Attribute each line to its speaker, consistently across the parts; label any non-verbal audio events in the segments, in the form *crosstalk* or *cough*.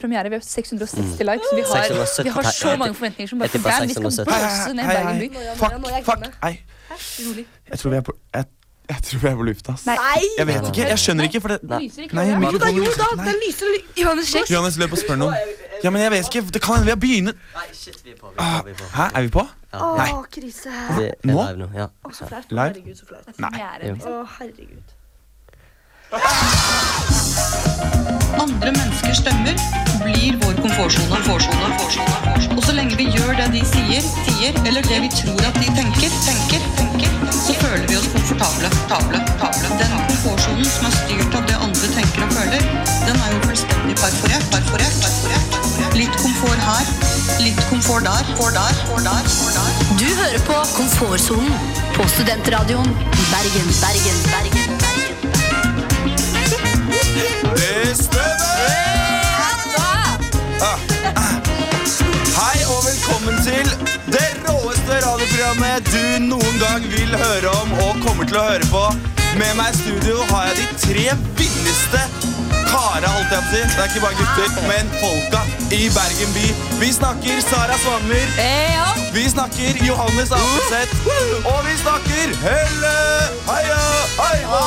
Speaker 1: premiere. Vi har 660 likes. Vi har,
Speaker 2: 670
Speaker 1: vi har så mange forventninger som bare
Speaker 2: Jeg tipper
Speaker 1: Bam, vi skal blåse
Speaker 2: 670.
Speaker 1: ned
Speaker 3: Hei, hei.
Speaker 1: Bergen by.
Speaker 3: Fuck, fuck, nei.
Speaker 1: Hæ? Rolig.
Speaker 3: Jeg tror vi er på, jeg, jeg tror vi er på lufta. ass.
Speaker 1: Nei.
Speaker 3: Jeg vet ikke. Jeg skjønner ikke, for det
Speaker 2: Nei.
Speaker 1: Lyser ikke
Speaker 3: Nei,
Speaker 1: kameraet?
Speaker 3: mikrofonen lyser ikke. Nei.
Speaker 1: lyser og lyser. Johannes Sjekk.
Speaker 3: Johannes, løp og spør noen. Ja, men jeg vet ikke. Det kan hende vi har begynt
Speaker 2: Nei, shit, vi er på. Vi
Speaker 3: Ah,
Speaker 2: er på, vi er på.
Speaker 3: Hæ, er vi på?
Speaker 2: Ja,
Speaker 3: Nei.
Speaker 4: Å, krise.
Speaker 2: vi er
Speaker 3: Nå?
Speaker 2: live nå. Ja.
Speaker 4: Å, så flaut. Å,
Speaker 3: Live?
Speaker 4: Herregud, så flaut.
Speaker 3: Nei.
Speaker 1: Premiere, liksom.
Speaker 4: Å, herregud.
Speaker 5: Andre menneskers stemmer blir vår komfortsone. komfortsone, komfortsone. Og så lenge vi gjør det de sier, sier, eller det vi tror at de tenker, tenker, tenker, så føler vi oss komfortable. Table, table. Den komfortsonen som er styrt av det andre tenker og føler, den er jo fullstendig perforert. perforert, perforert, perforert. Litt komfort her, litt komfort der, for der, for der, for der.
Speaker 6: Du hører på Komfortsonen på Studentradioen i Bergen, Bergen, Bergen. Bergen.
Speaker 3: Det stemmer! Hei og velkommen til det råeste radioprogrammet du noen gang vil høre om og kommer til å høre på. Med meg i studio har jeg de tre villeste kara, holdt jeg på å si. Det er ikke bare gutter, men folka i Bergen by. Vi snakker Sara Svanmyr.
Speaker 2: Eh,
Speaker 3: Vi snakker Johannes Apeseth. Og vi snakker Helle Heia Hei ho!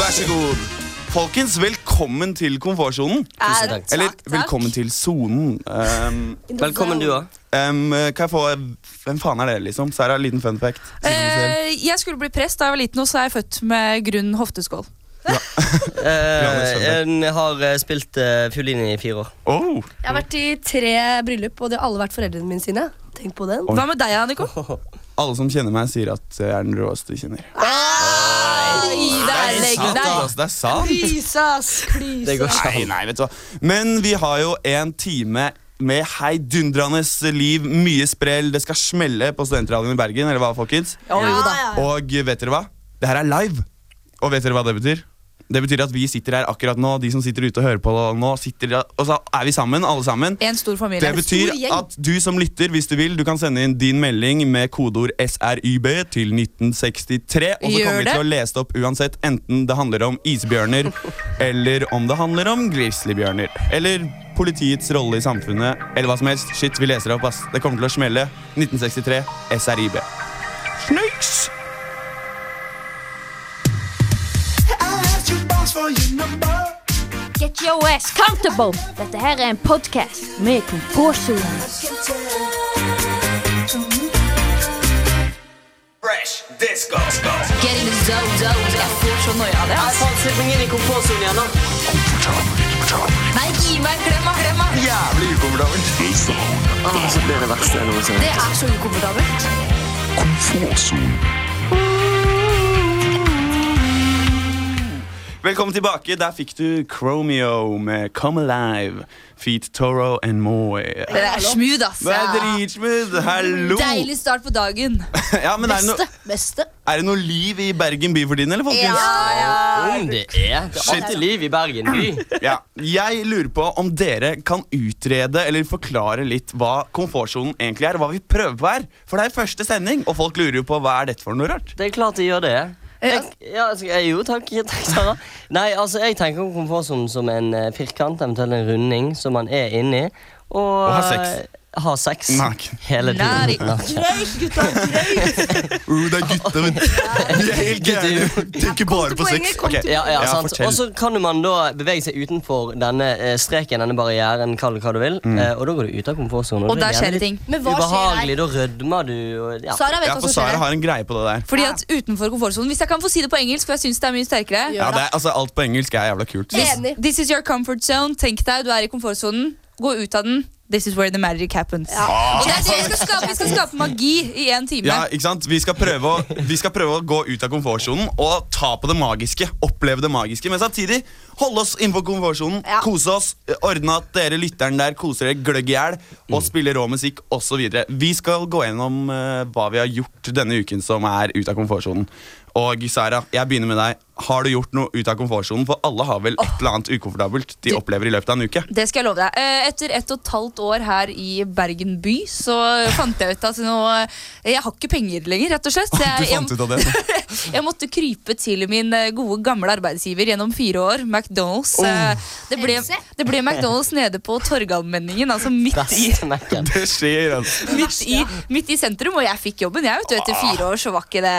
Speaker 3: Vær så god. Folkens, velkommen til komfortsonen.
Speaker 2: Tusen takk.
Speaker 3: Eller velkommen til sonen. Um,
Speaker 2: Velkommen du òg.
Speaker 3: um, kan jeg få Hvem faen er det, liksom? Sara, liten fun fact. Siden
Speaker 1: Eh, jeg skulle bli prest da jeg var liten, og så er jeg født med grunn hofteskål.
Speaker 2: Jeg Eh, har eh, spilt eh, fiolin i fire år.
Speaker 3: du selv- Oh,
Speaker 4: Jeg har vært i tre bryllup, og det har alle vært foreldrene mine sine. Tenk på den.
Speaker 3: Oi.
Speaker 1: Hva med deg, Anniko?
Speaker 3: alle som kjenner meg, sier at jeg er den råeste de kjenner.
Speaker 1: Der, legg
Speaker 3: Sant,
Speaker 1: deg.
Speaker 3: altså, det er sant.
Speaker 4: Klysas, klysas.
Speaker 2: Det går ikke
Speaker 3: Nei,
Speaker 2: an.
Speaker 3: nei, vet du hva. Men vi har jo en time med heidundrende liv, mye sprell, det skal smelle på Studentradioen i Bergen, eller hva, folkens? Og vet dere hva? Det her er live. Og vet dere hva det betyr? Det betyr at vi sitter her akkurat nå, de som sitter ute og hører på nå, sitter, og så er vi sammen, alle sammen.
Speaker 1: En stor familie.
Speaker 3: Det betyr at du som lytter, hvis du vil, du kan sende inn din melding med kodeord SRYB til 1963, og så
Speaker 1: Gjør
Speaker 3: kommer vi
Speaker 1: det.
Speaker 3: til å lese det opp uansett, enten det handler om
Speaker 1: *laughs*
Speaker 3: isbjørner, eller om det handler om grizzlybjørner, eller politiets rolle i samfunnet, eller hva som helst. Shit, vi leser det opp, ass. Det kommer til å smelle. 1963, SRYB. Snakes!
Speaker 7: Get your ass comfortable. Dette her er en podkast med komfortsonen.
Speaker 1: Get in the zone, zone. Jeg får så noia av det. altså. ass. Nei, gi meg en klem, da, klem, da.
Speaker 3: Jævlig ukomfortabelt. Ah,
Speaker 1: Det er så ukomfortabelt.
Speaker 3: Velkommen tilbake. Der fikk du Chromeo med Come Alive, Feet Toro and Moi.
Speaker 1: Det er smooth, ass.
Speaker 3: Det er dritsmooth! Hallo!
Speaker 1: Deilig start på dagen.
Speaker 3: Ja, men er det, noe,
Speaker 4: Beste.
Speaker 3: er det noe liv i Bergen by for din, eller, folkens?
Speaker 1: Ja, ja.
Speaker 2: Om Eh, det er. Det er alltid Mm. liv i Bergen by.
Speaker 3: Ja. Jeg lurer på om dere kan utrede eller forklare litt hva komfortsonen egentlig er, og hva vi prøver på her. For det er første sending, og folk lurer jo på hva er dette for noe rart.
Speaker 2: Det er klart de gjør det. Jeg, ja, altså, jeg, jo, takk, takk, Sara. Nei, altså, jeg tenker om komfortsonen som en eh, firkant, eventuelt en runding, som man er inni. Og, og
Speaker 3: har sex.
Speaker 2: Ha sex
Speaker 3: Naken.
Speaker 2: hele
Speaker 1: Nei.
Speaker 2: tiden. Naken.
Speaker 4: Greit, gutta. Greit.
Speaker 3: Uh, det er gutta, vet du. Vi er helt
Speaker 2: gærne.
Speaker 3: Tenker bare på sex. Ok,
Speaker 2: *laughs* Ja, ja, sant.
Speaker 3: fortell.
Speaker 2: Og så kan jo man da bevege seg utenfor denne eh, streken, denne barrieren, kall det hva du vil. eh, Og da går du ut av komfortsonen.
Speaker 1: Og
Speaker 2: det er
Speaker 1: der skjer
Speaker 2: gjerne
Speaker 1: det ting.
Speaker 4: Men
Speaker 2: litt
Speaker 4: hva skjer her?
Speaker 2: Ubehagelig. Da rødmer du. Og, ja.
Speaker 4: Sara vet
Speaker 3: Ja,
Speaker 4: hva
Speaker 3: for
Speaker 4: som skjer
Speaker 3: Sara
Speaker 4: her.
Speaker 3: har en greie på det der.
Speaker 1: Fordi at utenfor komfortsonen Hvis jeg kan få si det på engelsk, for jeg syns det er mye sterkere.
Speaker 3: Ja, det er, altså, alt på engelsk er jævla kult.
Speaker 4: Enig.
Speaker 1: This is your comfort zone. Tenk deg, du er i komfortsonen. Gå ut av den. This is where the magic happens. Og det er det vi skal skape. Vi skal skape magi i én time.
Speaker 3: Ja, ikke sant? Vi skal, prøve å, vi skal prøve å gå ut av komfortsonen og ta på det magiske. Oppleve det magiske, men samtidig holde oss innenfor komfortsonen. Kose oss. Ordne at dere lytteren der koser dere gløgg i hjel og spiller rå musikk osv. Vi skal gå gjennom eh, hva vi har gjort denne uken som er ut av komfortsonen. Og Sara, jeg begynner med deg. har du gjort noe ut av komfortsonen? For alle har vel et eller annet ukomfortabelt de
Speaker 1: Du-
Speaker 3: opplever i løpet av en uke.
Speaker 1: Det skal jeg love deg. Eh, Etter ett og et halvt år her i Bergen by, så fant jeg ut at nå eh, Jeg har ikke penger lenger, rett og slett. Så
Speaker 3: Du
Speaker 1: jeg,
Speaker 3: fant
Speaker 1: jeg,
Speaker 3: ut av det.
Speaker 1: *laughs* jeg måtte krype til min eh, gode, gamle arbeidsgiver gjennom fire år, McDonald's. Eh, Det ble,
Speaker 6: Else?
Speaker 1: det ble McDonald's nede på Torgallmenningen, altså midt i
Speaker 2: Best Mac-en.
Speaker 3: Det skjer, altså.
Speaker 1: Midt i, midt i sentrum, og jeg fikk jobben. Jeg, vet du, etter fire år så var ikke det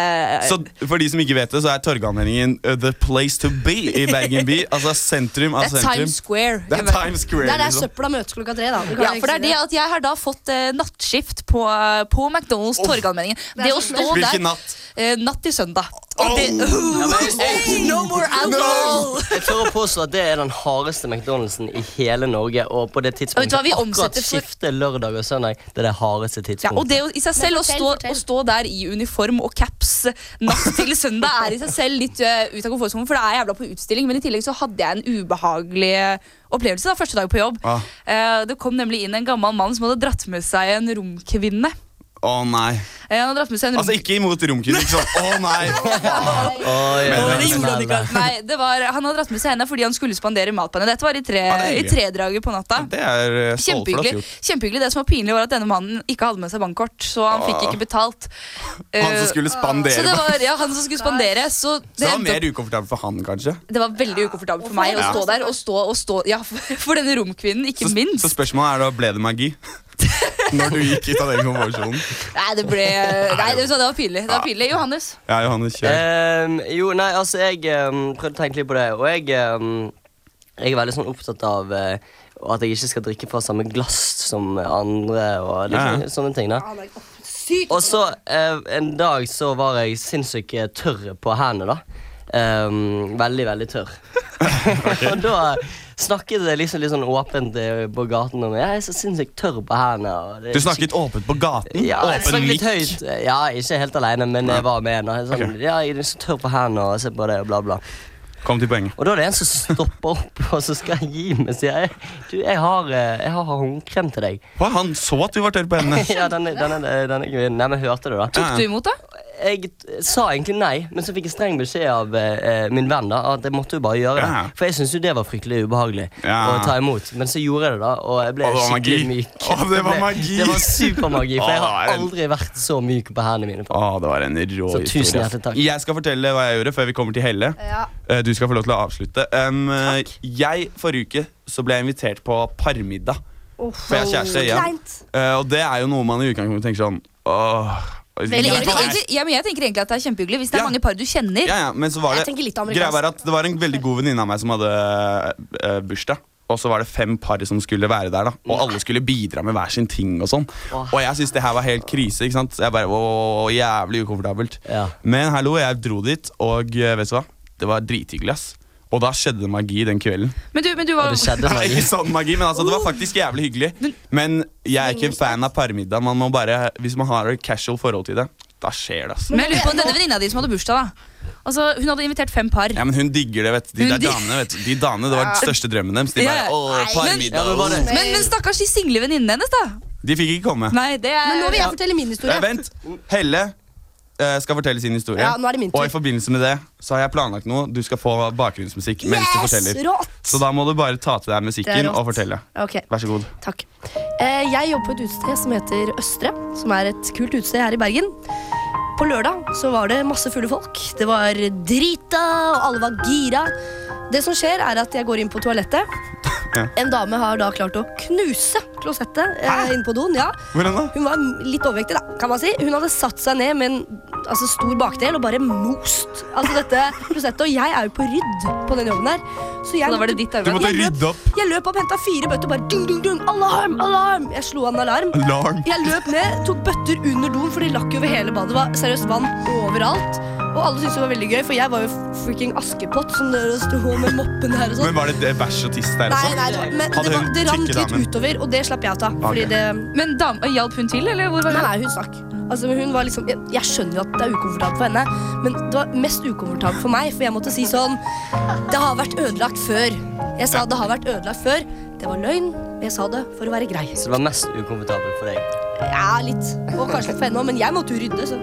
Speaker 3: Så for de som ikke vet det, så er Torgallmenningen uh, the place to be i Bergen
Speaker 1: *laughs*
Speaker 3: by. Altså sentrum av
Speaker 1: Det er
Speaker 3: sentrum.
Speaker 1: Times Square.
Speaker 3: Det er Times Square.
Speaker 4: Det er der
Speaker 3: liksom.
Speaker 4: søpla møtes klokka tre, da. Du kan
Speaker 1: Ja,
Speaker 4: ikke
Speaker 1: for det er
Speaker 4: si
Speaker 1: det at Jeg har da fått eh, nattskift på, eh, på McDonald's Torgallmenningen. Det å stå der
Speaker 3: Hvilken natt?
Speaker 1: eh, natt til søndag.
Speaker 3: Oh!
Speaker 1: Det, *laughs* no more alcohol!
Speaker 2: Jeg tør å påstå at det er den hardeste McDonald'sen i hele Norge. Og på
Speaker 1: Og vet du
Speaker 2: det
Speaker 1: hva,
Speaker 2: tidspunktet
Speaker 1: vi
Speaker 2: akkurat
Speaker 1: omsetter for-
Speaker 2: skiftet lørdag og søndag. Det er det hardeste
Speaker 1: Ja, og
Speaker 2: tidspunktet.
Speaker 1: det å- i seg selv å stå, å stå der i uniform og caps natt til søndag er i seg selv litt eh, ut av komfortsonen, for det er jævla på utstilling. Men i tillegg så hadde jeg en ubehagelig opplevelse da, første dag på jobb.
Speaker 3: Ah.
Speaker 1: Eh, det kom nemlig inn en gammel mann som hadde dratt med seg en romkvinne.
Speaker 3: Å nei.
Speaker 1: Eh, han hadde dratt med seg en
Speaker 3: Altså
Speaker 1: romkvinne.
Speaker 3: ikke imot romkvinner. Ikke sånn, å
Speaker 1: *laughs*
Speaker 3: nei.
Speaker 2: Oi,
Speaker 3: Men
Speaker 2: oi,
Speaker 3: det
Speaker 2: oi.
Speaker 3: gjorde
Speaker 1: Nei, det var, Han hadde dratt med seg henne fordi han skulle spandere mat på henne. Dette var i, tre,
Speaker 3: Ah, det er
Speaker 1: i
Speaker 3: hyggelig.
Speaker 1: tredraget på natta.
Speaker 3: Det er eh, stålflott
Speaker 1: Kjempehyggelig.
Speaker 3: gjort.
Speaker 1: Kjempehyggelig. Det som var pinlig, var at denne mannen ikke hadde med seg bankkort, så han fikk
Speaker 3: Ah.
Speaker 1: ikke betalt.
Speaker 3: Han som
Speaker 1: Eh,
Speaker 3: skulle
Speaker 1: så
Speaker 3: spandere.
Speaker 1: det var ja, han som skulle spandere. Så
Speaker 3: Så
Speaker 1: det,
Speaker 3: det var
Speaker 1: endte
Speaker 3: mer
Speaker 1: opp,
Speaker 3: ukomfortabelt for han, kanskje.
Speaker 1: det var veldig ukomfortabelt for meg å
Speaker 3: Ja.
Speaker 1: stå der og stå og stå Ja, *laughs* for, for denne romkvinnen, ikke
Speaker 3: Så, så
Speaker 1: minst.
Speaker 3: spørsmålet er da, ble det
Speaker 1: *laughs*
Speaker 3: magi? Når du gikk ut av den konvensjonen.
Speaker 1: Nei, det ble
Speaker 3: *laughs*
Speaker 1: Nei, det, så det var pinlig. Det var pinlig. Johannes.
Speaker 3: Ja, Johanne, kjør.
Speaker 1: Eh,
Speaker 2: Ehm, jo, nei, altså, jeg ehm, prøvde å tenke litt på det, og jeg, ehm, jeg er veldig sånn opptatt av eh, at jeg ikke skal drikke fra samme glass som andre og liksom,
Speaker 3: Ja, ja.
Speaker 2: sånne ting. da.
Speaker 4: det. Å, nei, å, Sykt!
Speaker 2: Og så eh, en dag så var jeg sinnssykt eh, tørr på hendene, da. Ehm, veldig, veldig
Speaker 3: *laughs*
Speaker 2: tørr. og da snakket jeg liksom litt sånn åpent eh, på gaten om jeg er så sinnssykt tørr på hendene. og det er
Speaker 3: Du snakket åpent på gaten?
Speaker 2: ja, jeg
Speaker 3: Åpen
Speaker 2: snakket litt
Speaker 3: mikk?
Speaker 2: høyt. Ja, ikke helt alene, men jeg var med. Da. Sånn,
Speaker 3: Ok.
Speaker 2: Ja, jeg er så tørr på hendene og se på det, og bla, bla.
Speaker 3: Kom til poenget.
Speaker 2: Og da er det en som stopper opp, og så skal jeg gi meg, sier jeg. Du, jeg har, eh, jeg har håndkrem til deg.
Speaker 3: Hva, han så at du var tørr på hendene.
Speaker 2: *laughs* Ja, denne, denne, denne kvinnen. Nei, men hørte du, da?
Speaker 3: Ja,
Speaker 1: Tok
Speaker 3: ja.
Speaker 1: du imot, da?
Speaker 2: jeg t- sa egentlig nei, men så fikk jeg streng beskjed av eh, eh, min venn da, at jeg måtte jo bare gjøre det.
Speaker 3: Ja.
Speaker 2: For jeg syntes jo det var fryktelig ubehagelig
Speaker 3: Ja.
Speaker 2: å ta imot. Men så gjorde jeg det, da, og jeg ble
Speaker 3: Å, det var
Speaker 2: skikkelig
Speaker 3: magi.
Speaker 2: myk.
Speaker 3: Å, det
Speaker 2: Jeg
Speaker 3: var
Speaker 2: ble-
Speaker 3: magi.
Speaker 2: Det var supermagi, for jeg
Speaker 3: Å,
Speaker 2: har
Speaker 3: det er en-
Speaker 2: aldri vært så myk på hendene mine.
Speaker 3: Å, det var en rå
Speaker 2: Så tusen
Speaker 3: historie.
Speaker 2: hjertelig takk.
Speaker 3: Jeg skal fortelle hva jeg gjorde før vi kommer til Helle. Eh, Du skal få lov til å avslutte. Um, eh, jeg, Forrige uke så ble jeg invitert på parmiddag. For jeg har kjæreste igjen.
Speaker 4: Kleint.
Speaker 3: Eh, og det er jo noe man i utgangspunktet tenker sånn åh,
Speaker 1: Eller,
Speaker 3: jeg-
Speaker 1: egentlig, egentlig, ja, men jeg tenker egentlig at det er kjempehyggelig hvis det er
Speaker 3: Ja.
Speaker 1: mange par du kjenner.
Speaker 3: Ja, ja, men så var
Speaker 4: Jeg
Speaker 3: det
Speaker 4: tenker litt
Speaker 3: Greia var
Speaker 4: amerikansk.
Speaker 3: at det var en veldig god venninne av meg som hadde eh, bursdag. Og så var det fem par som skulle være der, da og alle skulle bidra med hver sin ting. Og sånn
Speaker 2: Åh.
Speaker 3: Og jeg syntes det her var helt krise. ikke sant? Jeg bare, åh, Jævlig ukomfortabelt.
Speaker 2: Ja.
Speaker 3: Men hallo, jeg dro dit, og eh, vet du hva? Det var drithyggelig. ass Og da skjedde det magi den kvelden.
Speaker 1: Men du, men du
Speaker 2: Og
Speaker 1: var
Speaker 2: det
Speaker 1: *laughs*
Speaker 2: skjedde
Speaker 3: Nei,
Speaker 2: magi.
Speaker 3: ikke sånn magi, men altså, Det var faktisk jævlig hyggelig. Men jeg er ikke en fan av parmiddag. Man må bare, Hvis man har et casual forhold til det, da skjer det. ass
Speaker 1: Men jeg lurer på denne venninna di som hadde bursdag, da. Altså, hun hadde invitert fem par.
Speaker 3: Ja, men Hun digger det, vet du. De
Speaker 1: Hun
Speaker 3: der
Speaker 1: dig-
Speaker 3: damene, vet du. De damene, Det var den største drømmen deres. De bare,
Speaker 1: Ja.
Speaker 3: åh,
Speaker 2: Ja, men var
Speaker 3: parmiddag.
Speaker 2: det-
Speaker 1: Men, men stakkars de single venninnene hennes, da.
Speaker 3: De fikk ikke komme.
Speaker 1: Nei, det er
Speaker 4: Men nå vil jeg fortelle min historie.
Speaker 3: Eh, vent. Helle eh, skal fortelle sin historie.
Speaker 4: Ja, nå er det min tur.
Speaker 3: Og i forbindelse med det så har jeg planlagt noe. Du skal få bakgrunnsmusikk mens du forteller.
Speaker 4: Rått!
Speaker 3: Så da må du bare ta til deg
Speaker 4: Det
Speaker 3: musikken
Speaker 4: er rått.
Speaker 3: og fortelle.
Speaker 4: Ok,
Speaker 3: Vær så god.
Speaker 4: takk. Eh, jeg jobber på et utested som heter Østre, som er et kult utested her i Bergen. På lørdag så var det masse fulle folk. Det var drita, og alle var gira. Det som skjer, er at jeg går inn på toalettet.
Speaker 3: Ja.
Speaker 4: En dame har da klart å knuse klosettet eh, inne på doen. ja.
Speaker 3: Hvordan da?
Speaker 4: Hun var litt overvektig, da, kan man si. Hun hadde satt seg ned med en altså, stor bakdel og bare most altså, dette klosettet. Og jeg er jo på rydd på den jobben her. Så jeg
Speaker 1: Så da var det
Speaker 4: måtte-
Speaker 1: ditt
Speaker 3: Du
Speaker 1: arbeid.
Speaker 3: måtte
Speaker 4: Jeg løp-
Speaker 3: rydde opp.
Speaker 4: Jeg løp opp, henta fire bøtter, bare dung, dung, dung, alarm, alarm! Jeg slo an alarm.
Speaker 3: Alarm.
Speaker 4: Jeg løp ned, tok bøtter under doen, for de lakk jo over hele badet. Det var seriøst vann overalt. Og alle syntes det var veldig gøy, for jeg var jo freaking Askepott som dere sto med moppen her og sånn.
Speaker 3: Men var det det bæsj og tiss der altså?
Speaker 4: Nei,
Speaker 3: også?
Speaker 4: nei, det, var, men
Speaker 3: Hadde
Speaker 4: det, var,
Speaker 3: hun
Speaker 4: det rant
Speaker 3: tykke
Speaker 4: litt
Speaker 3: damen?
Speaker 4: utover, og det slapp jeg å ta. Fordi
Speaker 3: Ok.
Speaker 4: det
Speaker 1: Men dam, hjalp hun til, eller hvor var
Speaker 4: Nei,
Speaker 1: hun?
Speaker 4: nei, hun stakk. Altså, hun var liksom, jeg, jeg skjønner jo at det er ukomfortabelt for henne, men det var mest ukomfortabelt for meg, for jeg måtte si sånn Det har vært ødelagt før. Jeg sa det har vært ødelagt før. Det var løgn, men jeg sa det for å være grei.
Speaker 2: Så det var mest ukomfortabelt for deg.
Speaker 4: Ja, litt. Og kanskje litt for henne òg, men jeg måtte jo rydde, så.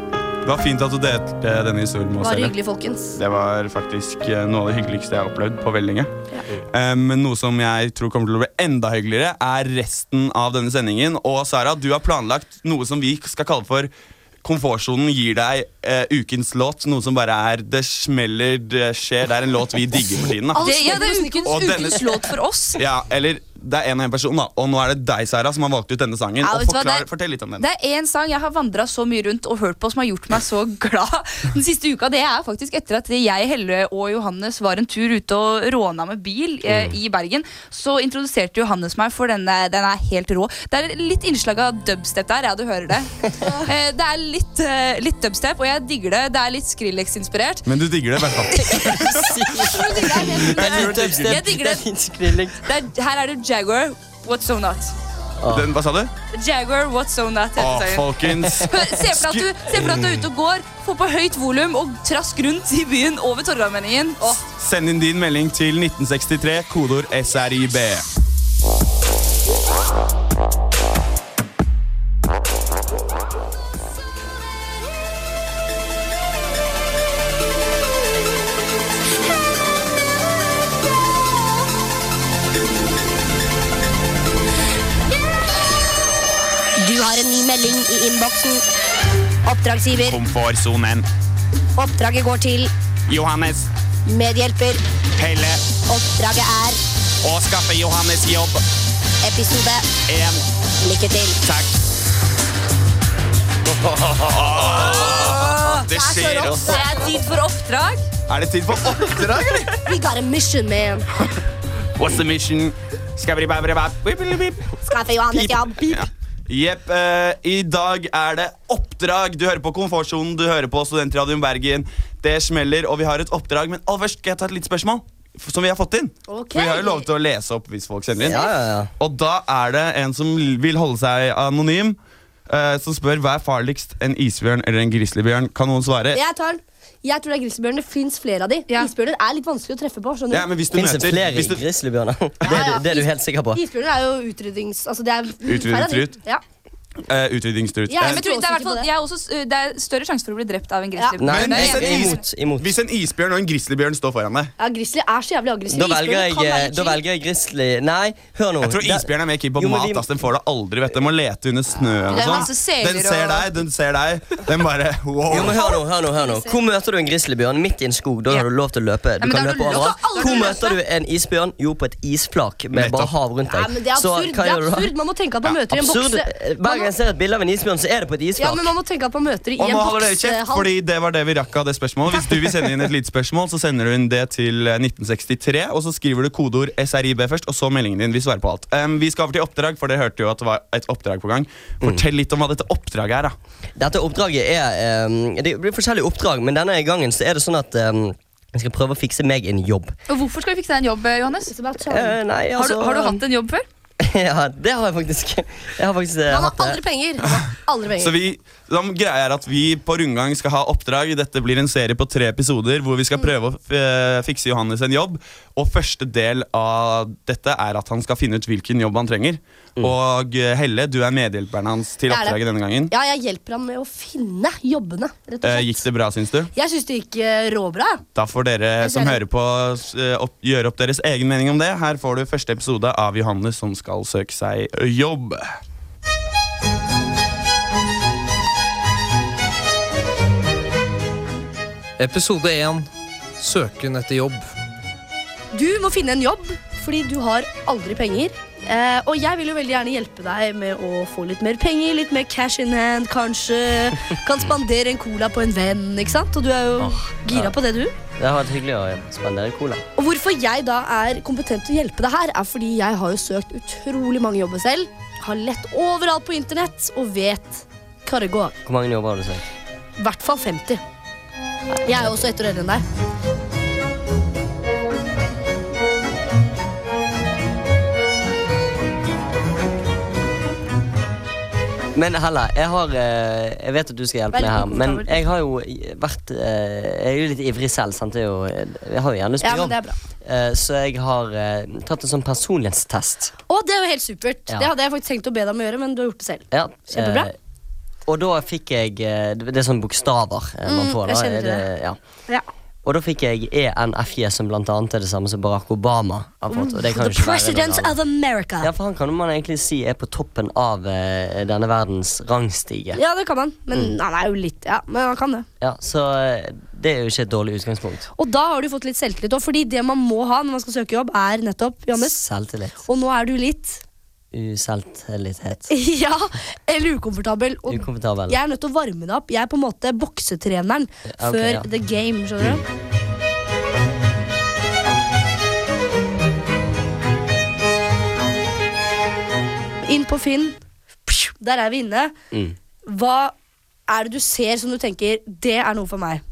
Speaker 3: Det var fint at du delte denne historien med oss.
Speaker 4: Bare
Speaker 3: Ellie.
Speaker 4: hyggelig, folkens.
Speaker 3: Det var faktisk eh, noe av det hyggeligste jeg har opplevd på veldig lenge. Eh, Men noe som jeg tror kommer til å bli enda hyggeligere, er resten av denne sendingen. Og Sara, du har planlagt noe som vi skal kalle for Komfortsonen gir deg eh, ukens låt. Noe som bare er Det smeller, det skjer. Det er en låt vi digger for tiden. da
Speaker 1: Det, ja, det er ukens,
Speaker 3: Og denne-
Speaker 1: ukens låt for oss.
Speaker 3: Ja, Eller det er en og en person, da. Og nå er det deg, Sara, som har valgt ut denne sangen.
Speaker 1: Ja,
Speaker 3: og
Speaker 1: vet du hva, det
Speaker 3: forklar,
Speaker 1: er-
Speaker 3: Fortell litt om den.
Speaker 1: Det er én sang jeg har vandra så mye rundt og hørt på som har gjort meg så glad *laughs* den siste uka. Det er faktisk etter at jeg, Helle og Johannes var en tur ute og råna med bil eh,
Speaker 3: Mm.
Speaker 1: i Bergen. Så introduserte Johannes meg for denne. Den er helt rå. Det er litt innslag av dubstep der. Ja, du hører det.
Speaker 4: *laughs*
Speaker 1: Eh, det er litt, eh, litt dubstep, og jeg digger det. Det er litt Skrillex-inspirert.
Speaker 3: Men du digger det, i hvert fall.
Speaker 2: Det er litt dubstep,
Speaker 1: Jeg digger
Speaker 2: det
Speaker 1: det.
Speaker 2: er litt skrilling.
Speaker 1: det er, her er det Jaguar, What's So Not.
Speaker 3: Den, hva sa du?
Speaker 1: Jaguar, What's So Not.
Speaker 3: Å,
Speaker 1: heter sangen.
Speaker 3: folkens.
Speaker 1: Hør, Se for deg at du, se for deg at du er ute og går, får på høyt volum og trask rundt i byen over Torgallmenningen. Åh,
Speaker 3: Send inn din melding til 1963, kodord SRIB.
Speaker 6: Du har en ny melding i innboksen. Oppdragsgiver.
Speaker 3: Komfortsonen.
Speaker 6: Oppdraget går til
Speaker 3: Johannes,
Speaker 6: medhjelper.
Speaker 3: Pelle
Speaker 6: Oppdraget er
Speaker 3: og skaffe Johannes jobb.
Speaker 6: episode.
Speaker 3: Én
Speaker 6: Lykke til.
Speaker 3: takk. Det skjer også.
Speaker 1: det er tid for oppdrag.
Speaker 3: Er det tid for oppdrag, eller?
Speaker 4: We got a mission, man.
Speaker 3: What's the mission? Skabribabrebab. Bip, bip, bip.
Speaker 6: Skaffe Johannes jobb.
Speaker 3: Ja. Jepp. eh, I dag er det oppdrag. Du hører på Komfortsonen, du hører på Studentradioen Bergen. Det smeller, og vi har et oppdrag. Men aller først skal jeg ta et lite spørsmål f- som vi har fått inn. For vi har jo lov til å lese opp hvis folk sender inn.
Speaker 2: Ja, ja, ja.
Speaker 3: Og da er det en som l- vil holde seg anonym, eh, som spør hva er farligst, en isbjørn eller en grizzlybjørn. Kan noen svare?
Speaker 4: Jeg tar den. Jeg tror det er grizzlybjørn. Det fins flere av de. Isbjørner er litt vanskelig å treffe på. skjønner du?
Speaker 3: Ja, men hvis du
Speaker 2: Fins det
Speaker 3: møter
Speaker 2: flere
Speaker 3: hvis du,
Speaker 2: grizzlybjørner? *laughs* Det, er du- det er du helt sikker på.
Speaker 4: Isbjørner er jo utryddings... Altså, det er flere av de.
Speaker 3: Utrydningstrut.
Speaker 4: Ja.
Speaker 3: eh, Utrydningstrut.
Speaker 4: Ja,
Speaker 1: Nei,
Speaker 3: Eh,
Speaker 1: men jeg tror, det, er
Speaker 4: Jeg tror
Speaker 1: i hvert fall-
Speaker 4: også ikke på det.
Speaker 1: jeg er også, s- det er større sjanse for å bli drept av en eh, grizzly.
Speaker 2: Nei,
Speaker 3: Men
Speaker 2: nei,
Speaker 3: hvis en
Speaker 2: jeg-
Speaker 3: is-
Speaker 2: imot. imot.
Speaker 3: Eh, Hvis en isbjørn og en grizzlybjørn står foran deg
Speaker 4: ja, Grizzly er så jævlig aggressiv.
Speaker 2: Da velger
Speaker 4: Isbjørner
Speaker 2: jeg,
Speaker 4: kan være
Speaker 2: eh, da
Speaker 4: chill.
Speaker 2: velger jeg grizzly Nei, hør nå.
Speaker 3: Jeg tror
Speaker 2: Da-
Speaker 3: isbjørn er mer keen på
Speaker 2: Jo, men
Speaker 3: mat.
Speaker 2: vi-
Speaker 3: ass. Den får deg aldri. vet du. Den må lete under snøen. og
Speaker 1: Det er
Speaker 3: sånn.
Speaker 1: masse seler
Speaker 3: Den ser
Speaker 1: og-
Speaker 3: deg, den ser deg. Den bare wow.
Speaker 2: Jo, men hør nå, hør nå, hør nå. Hvor møter du en grizzlybjørn midt i en skog? Da har du lov til å løpe. Du
Speaker 1: men da har
Speaker 2: kan
Speaker 1: du
Speaker 2: løpe
Speaker 1: lov-
Speaker 2: overalt.
Speaker 1: Du har aldri
Speaker 2: Hvor
Speaker 1: lov til å
Speaker 2: møter du en isbjørn? Jo, på et isflak med bare
Speaker 3: Nettopp.
Speaker 2: hav rundt
Speaker 4: Ja,
Speaker 2: deg.
Speaker 4: men det er
Speaker 2: Så
Speaker 4: absurd.
Speaker 2: hva
Speaker 4: det er
Speaker 2: gjør du da?
Speaker 4: absurd. Man må tenke at man møter i en
Speaker 2: Absurd. Eh,
Speaker 4: bokse.
Speaker 2: Hver gang
Speaker 4: Man må,
Speaker 2: jeg ser et bilde av en isbjørn, så er det på et
Speaker 4: ja,
Speaker 2: isflak.
Speaker 4: men man må tenke at man møter i
Speaker 3: Og
Speaker 4: en eh,
Speaker 3: nå holder dere kjeft,
Speaker 4: boksehall.
Speaker 3: fordi det var det vi rakk av det spørsmålet. Hvis du vil sende inn et lite spørsmål, så sender du inn det til eh, 1963, og så skriver du kodeord SRIB først, og så meldingen din. Vi svarer på alt. Em, vi skal over til oppdrag, for dere hørte jo at det var et oppdrag på gang. Fortell litt om hva dette oppdraget er, da.
Speaker 2: Dette oppdraget er eh, Det blir forskjellige oppdrag, men denne gangen så er det sånn at eh, jeg skal prøve å fikse meg en jobb.
Speaker 1: Og hvorfor skal vi fikse deg en jobb, Johannes?
Speaker 2: Eh, nei,
Speaker 1: Har du,
Speaker 2: altså,
Speaker 1: har du hatt en jobb før?
Speaker 2: *laughs* ja, det har jeg faktisk. Jeg har faktisk eh,
Speaker 4: Man
Speaker 2: hatt
Speaker 4: har
Speaker 2: det.
Speaker 4: aldri penger. Man har Aldri
Speaker 3: *laughs* Så
Speaker 4: penger.
Speaker 3: vi, da greia er at vi på rundgang skal ha oppdrag. Dette blir en serie på tre episoder hvor
Speaker 4: Mm.
Speaker 3: vi skal prøve å eh, fikse Johannes en jobb. Og første del av dette er at han skal finne ut hvilken jobb han trenger. Og eh, Helle, du er medhjelperen hans til
Speaker 4: Jeg er det.
Speaker 3: oppdraget denne gangen.
Speaker 4: Ja, jeg hjelper han med å finne jobbene. Rett og
Speaker 3: Eh,
Speaker 4: slett.
Speaker 3: gikk det bra, syns du?
Speaker 4: Jeg syns det gikk eh, råbra.
Speaker 3: Da får dere som hører på, s- eh, opp, gjøre opp deres egen mening om det. Her får du første episode av Johannes som skal søke seg jobb.
Speaker 8: Episode 1 Søken etter jobb
Speaker 4: Du må finne en jobb, fordi du har aldri penger. Eh, og jeg vil jo veldig gjerne hjelpe deg med å få litt mer penger, litt mer cash in hand, kanskje. Kan spandere en cola på en venn, ikke sant? Og du er jo gira på det, du.
Speaker 2: Det har vært hyggelig å spandere cola.
Speaker 4: Og hvorfor jeg da er kompetent til å hjelpe deg her, er fordi jeg har jo søkt utrolig mange jobber selv. Har lett overalt på internett og vet hva det går.
Speaker 2: Hvor mange jobber har du søkt?
Speaker 4: I hvert fall 50. Jeg er jo også ett år eldre enn deg.
Speaker 2: Men Helle, jeg, har, eh, jeg vet at du skal hjelpe
Speaker 4: Veldig
Speaker 2: meg her, men
Speaker 4: komfortabel.
Speaker 2: jeg har jo vært eh, Jeg er jo litt ivrig selv, sant. Jeg, er jo, jeg har jo gjerne lyst
Speaker 4: Ja,
Speaker 2: på
Speaker 4: men
Speaker 2: jobb.
Speaker 4: det er bra.
Speaker 2: Eh, Så jeg har eh, tatt en sånn personlighetstest.
Speaker 4: Å, det er jo helt supert.
Speaker 2: Ja.
Speaker 4: Det hadde jeg faktisk tenkt å be deg om å gjøre, men du har gjort det selv.
Speaker 2: Ja,
Speaker 4: Kjempebra.
Speaker 2: eh, Og da fikk jeg eh, Det det er sånne bokstaver eh, man
Speaker 4: Mm,
Speaker 2: får.
Speaker 4: jeg
Speaker 2: da
Speaker 4: kjenner
Speaker 2: er
Speaker 4: til
Speaker 2: det, ja.
Speaker 4: Ja.
Speaker 2: Og da fikk jeg E ENFJ, som blant annet er det samme som Barack Obama har fått. Og det kan
Speaker 4: The
Speaker 2: jo ikke være
Speaker 4: President
Speaker 2: noen annen.
Speaker 4: of America.
Speaker 2: Ja, for Han kan man egentlig si er på toppen av eh, denne verdens rangstige.
Speaker 4: Ja, det kan han. Men
Speaker 2: Mm.
Speaker 4: han er jo litt Ja, men han kan det.
Speaker 2: Ja, Så eh, det er jo ikke et dårlig utgangspunkt.
Speaker 4: Og da har du fått litt selvtillit òg, fordi det man må ha når man skal søke jobb, er nettopp Johannes.
Speaker 2: Selvtillit.
Speaker 4: Og nå er du litt *laughs*
Speaker 2: Uselvtillithet.
Speaker 4: Ja, eller ukomfortabel. Og
Speaker 2: Ukomfortabel.
Speaker 4: jeg er nødt til å varme det opp. Jeg er på en måte boksetreneren
Speaker 2: Ja, ok,
Speaker 4: før
Speaker 2: ja.
Speaker 4: the game. skjønner du? Inn på Finn. Psju, Der er vi inne.
Speaker 2: Mm.
Speaker 4: Hva er det du ser som du tenker Det er noe for meg?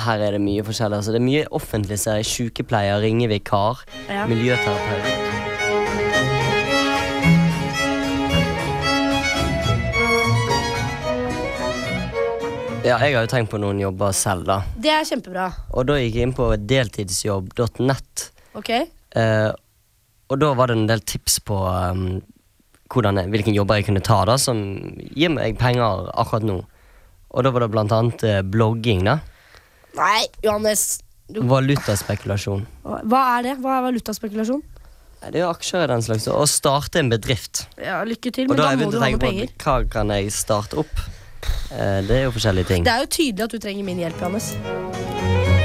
Speaker 2: Her er det mye forskjellig. Altså. Det er mye offentlig, ser jeg. Sykepleier, ringevikar,
Speaker 4: Ja.
Speaker 2: miljøterapeut. Ja, jeg har jo tenkt på noen jobber selv, da.
Speaker 4: Det er kjempebra.
Speaker 2: Og da gikk jeg inn på deltidsjobb.nett.
Speaker 4: Ok?
Speaker 2: eh, og da var det en del tips på eh, hvordan jeg, hvilken jobber jeg kunne ta, da, som gir meg penger akkurat nå. Og da var det blant annet eh, blogging, da.
Speaker 4: Nei, Johannes. Du,
Speaker 2: Valutaspekulasjon.
Speaker 4: hva er det? Hva er valutaspekulasjon?
Speaker 2: Nei, Det er jo aksjer og den slags. Å starte en bedrift.
Speaker 4: Ja, lykke til,
Speaker 2: Og
Speaker 4: men da,
Speaker 2: har jeg
Speaker 4: må
Speaker 2: begynt
Speaker 4: du
Speaker 2: å
Speaker 4: ha noe
Speaker 2: tenke
Speaker 4: penger.
Speaker 2: på hva kan jeg starte opp. Eh, Det er jo forskjellige ting.
Speaker 4: Det er jo tydelig at du trenger min hjelp, Johannes.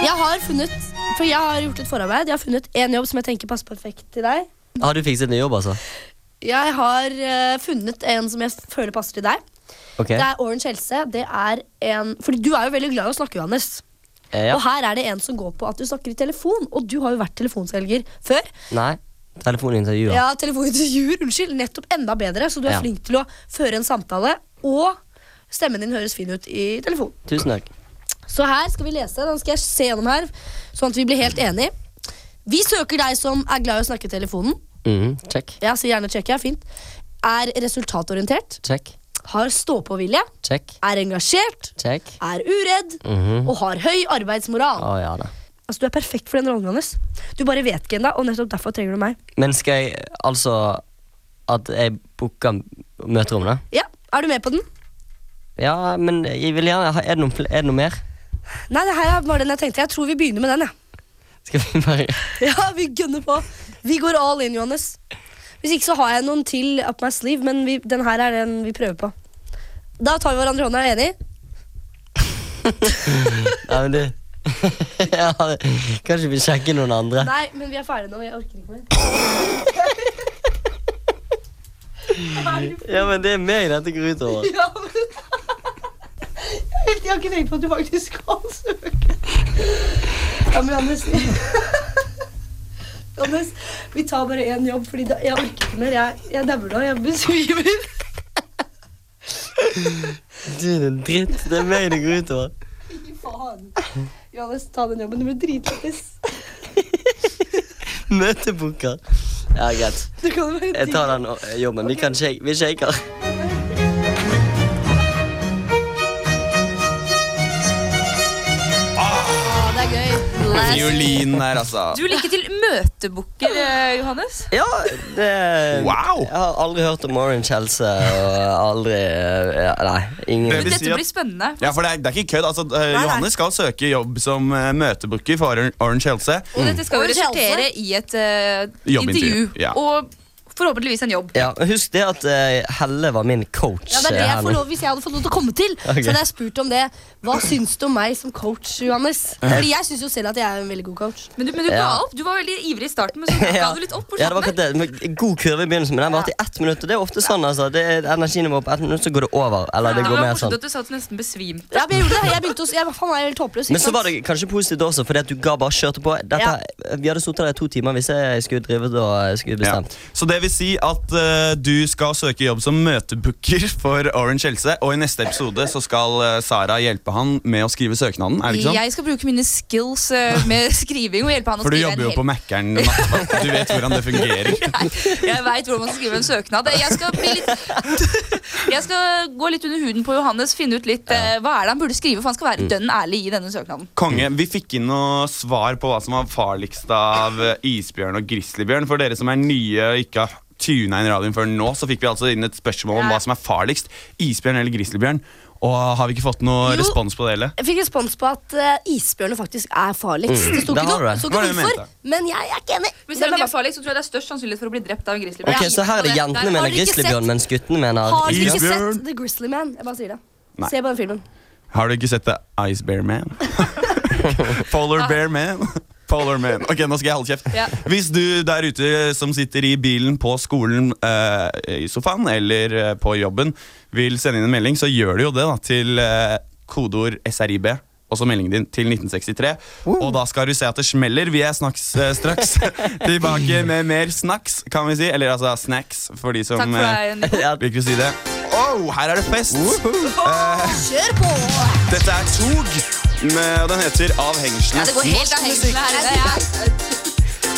Speaker 4: Jeg har funnet For jeg har gjort et forarbeid. Jeg har funnet en jobb som jeg tenker passer perfekt til deg.
Speaker 2: Har du fikset ny jobb, altså?
Speaker 4: Jeg har eh, funnet en som jeg føler passer til deg.
Speaker 2: Ok.
Speaker 4: Det er Orange Helse. Det er en Fordi du er jo veldig glad i å snakke, Johannes.
Speaker 2: Eh, Ja.
Speaker 4: Og her er det en som går på at du snakker i telefon. Og du har jo vært telefonselger før.
Speaker 2: Nei. Telefonintervjuer.
Speaker 4: Ja, telefonintervjuer, unnskyld. Nettopp enda bedre, så du er
Speaker 2: Ja.
Speaker 4: flink til å føre en samtale. Og stemmen din høres fin ut i telefon.
Speaker 2: Tusen takk.
Speaker 4: Så her skal vi lese. Den skal jeg se gjennom her, sånn at vi blir helt enige. Vi søker deg som er glad i å snakke i telefonen.
Speaker 2: Mhm, Check.
Speaker 4: Ja, så gjerne sjekker jeg. Fint. Er resultatorientert.
Speaker 2: Check.
Speaker 4: Har stå-på-vilje.
Speaker 2: Check.
Speaker 4: Er engasjert.
Speaker 2: Check.
Speaker 4: Er uredd.
Speaker 2: Mhm.
Speaker 4: Og har høy arbeidsmoral.
Speaker 2: Å ja da.
Speaker 4: Altså, Du er perfekt for den rollen hans. Du bare vet ikke ennå, og nettopp derfor trenger du meg.
Speaker 2: Men skal jeg altså At jeg booker møterom, da?
Speaker 4: Ja, Er du med på den?
Speaker 2: Ja, men jeg vil gjerne ha- Er det noe, fl- er det noe mer?
Speaker 4: Nei, det her var den jeg tenkte. Jeg tror vi begynner med den. Ja.
Speaker 2: Skal vi bare
Speaker 4: *laughs* Ja, vi gønner på. Vi går all in, Johannes. Hvis ikke så har jeg noen til up my sleeve, men vi, den her er den vi prøver på. Da tar vi hverandre i hånda, er du enig?
Speaker 2: Nei, men du *laughs* ja, Kanskje vi sjekker noen andre?
Speaker 4: Nei, men vi er ferdige nå. Jeg orker ikke *laughs* mer.
Speaker 2: Ja, men det er meg dette går ut over.
Speaker 4: Ja, men... Jeg har ikke tenkt på at du faktisk skal søke. Ja, men Johannes Johannes, vi tar bare én jobb, fordi da, jeg orker ikke mer. Jeg, jeg dauer nå. Jeg besvimer.
Speaker 2: Du er en dritt. Det er meg det går ut over.
Speaker 4: Faen. Johannes, ta den jobben. Du blir dritlættis.
Speaker 2: Møtebooker. Ja, greit.
Speaker 4: Du kan være
Speaker 2: Jeg tar den eh, jobben. Vi kan shake. Vi shaker.
Speaker 4: Ja, det er gøy.
Speaker 3: Fiolin der, altså.
Speaker 1: Du liker til møtebooker, eh, Johannes.
Speaker 2: Ja, det
Speaker 3: Wow!
Speaker 2: Jeg har aldri hørt om Orange Helse og aldri eh, ja, Nei,
Speaker 3: Det
Speaker 2: ingen
Speaker 3: vil si
Speaker 1: Dette
Speaker 3: at- Mm.
Speaker 1: blir spennende.
Speaker 3: Ja, for det er, det er ikke kødd. Altså, eh, Johannes skal søke jobb som eh, møtebooker for Oran- Orange Helse.
Speaker 1: Og dette skal jo
Speaker 4: Orange Helse.
Speaker 1: resultere i et eh,
Speaker 3: Jobbintervju,
Speaker 1: intervju.
Speaker 3: ja.
Speaker 1: Og forhåpentligvis en jobb.
Speaker 2: ja, Husk det at eh, Helle var min coach.
Speaker 4: Ja, det er det
Speaker 2: eh,
Speaker 4: jeg
Speaker 2: her
Speaker 4: får
Speaker 2: nå. *laughs*
Speaker 4: lov, Hvis jeg hadde fått lov til å komme til,
Speaker 2: Ok.
Speaker 4: så hadde jeg spurt om det. Hva syns du om meg som coach, Johannes? Fordi jeg syns jo selv at jeg er en veldig god coach.
Speaker 1: Men du, men du
Speaker 2: Ja.
Speaker 1: ga opp. Du var veldig ivrig i starten,
Speaker 2: *laughs*
Speaker 1: men så ga du litt opp. på
Speaker 2: Ja, det var
Speaker 1: slutten
Speaker 2: akkurat det. Men God kurve i begynnelsen, men den varte i ett minutt. Og det er ofte sånn, altså. Det er energinivået på ett minutt, så går det over. Eller
Speaker 1: der.
Speaker 2: det
Speaker 1: Det
Speaker 2: går
Speaker 1: var
Speaker 2: mer sånn.
Speaker 1: morsomt at du sa at du nesten besvimte.
Speaker 4: Ja, men jeg gjorde det. Jeg begynte å, s- jeg, faen, jeg er helt håpløs. ikke
Speaker 2: Men så
Speaker 4: sant?
Speaker 2: var det kanskje positivt også, fordi at du ga bare kjørte på. Dette, Vi hadde sittet der i to timer hvis jeg skulle drevet og eh, skulle
Speaker 3: Ja.
Speaker 2: bestemt.
Speaker 3: Så det vi vil si at eh, du skal søke jobb som møtebooker for Orange Helse, og i neste episode så skal eh, Sara hjelpe han med å skrive søknaden, er det ikke sånn?
Speaker 1: Jeg skal bruke mine skills eh, med *laughs* skriving og hjelpe han å
Speaker 3: For du
Speaker 1: skrive en
Speaker 3: jobber
Speaker 1: *laughs*
Speaker 3: jo
Speaker 1: hel-
Speaker 3: på Mækkern, Matt. du vet hvordan det
Speaker 1: *laughs*
Speaker 3: fungerer.
Speaker 1: Jeg veit hvordan man skal skrive en søknad. Jeg skal, bli litt, *laughs* jeg skal gå litt under huden på Johannes, finne ut litt eh, hva er det han burde skrive. For han skal være
Speaker 2: Mm.
Speaker 1: dønn ærlig i denne søknaden.
Speaker 3: Konge, Vi fikk inn noe svar på hva som var farligst av eh, isbjørn og grizzlybjørn. For dere som er nye og ikke har tuna inn radioen før nå, så fikk vi altså inn et spørsmål om hva som er farligst. Isbjørn eller grizzlybjørn? Og har vi ikke fått noe
Speaker 4: Jo.
Speaker 3: respons på det heller?
Speaker 4: Jeg fikk respons på at eh, isbjørnet faktisk er farligst. Det sto
Speaker 2: det
Speaker 4: ikke
Speaker 2: Mm. har
Speaker 4: noe,
Speaker 2: du.
Speaker 4: sto
Speaker 3: Hva er
Speaker 4: ikke
Speaker 3: det du
Speaker 4: hvorfor,
Speaker 3: mente?
Speaker 4: men jeg er ikke enig.
Speaker 1: Men selv
Speaker 4: Det ble
Speaker 1: om de
Speaker 4: bare-
Speaker 1: er farlige, så tror jeg det er størst sannsynlighet for å bli drept av en grizzlybjørn.
Speaker 2: Ok, Så her er
Speaker 1: Der-
Speaker 2: jentene
Speaker 1: der-
Speaker 2: mener
Speaker 4: du ikke
Speaker 2: grizzlybjørn,
Speaker 4: sett-
Speaker 2: mens guttene mener
Speaker 4: Har du ikke
Speaker 3: Isbjørn.
Speaker 4: sett The Grizzly Man? Jeg bare sier det.
Speaker 3: Nei.
Speaker 4: Se på den filmen.
Speaker 3: Har du ikke sett The Ice Bear Man? *laughs* Polar Bear Man? Polar Man. Ok, nå skal jeg holde kjeft.
Speaker 1: Ja.
Speaker 3: Hvis du der ute som sitter i bilen, på skolen, eh, i sofaen eller eh, på jobben, vil sende inn en melding, så gjør du jo det da, til eh, kodeord SRIB. Og så meldingen din til 1963. Og da skal du se at det smeller. Vi er snaks, eh, straks tilbake med mer snacks, kan vi si. Eller altså snacks, for de som
Speaker 1: Takk for
Speaker 3: eh,
Speaker 1: deg. Nico.
Speaker 2: *laughs* Ja,
Speaker 3: liker å si det. Oh, her er det fest! Eh,
Speaker 4: Kjør på!
Speaker 3: dette er Tog, med- og den heter Av hengslene.
Speaker 1: Ja, det går helt av hengslene her inne. Jeg-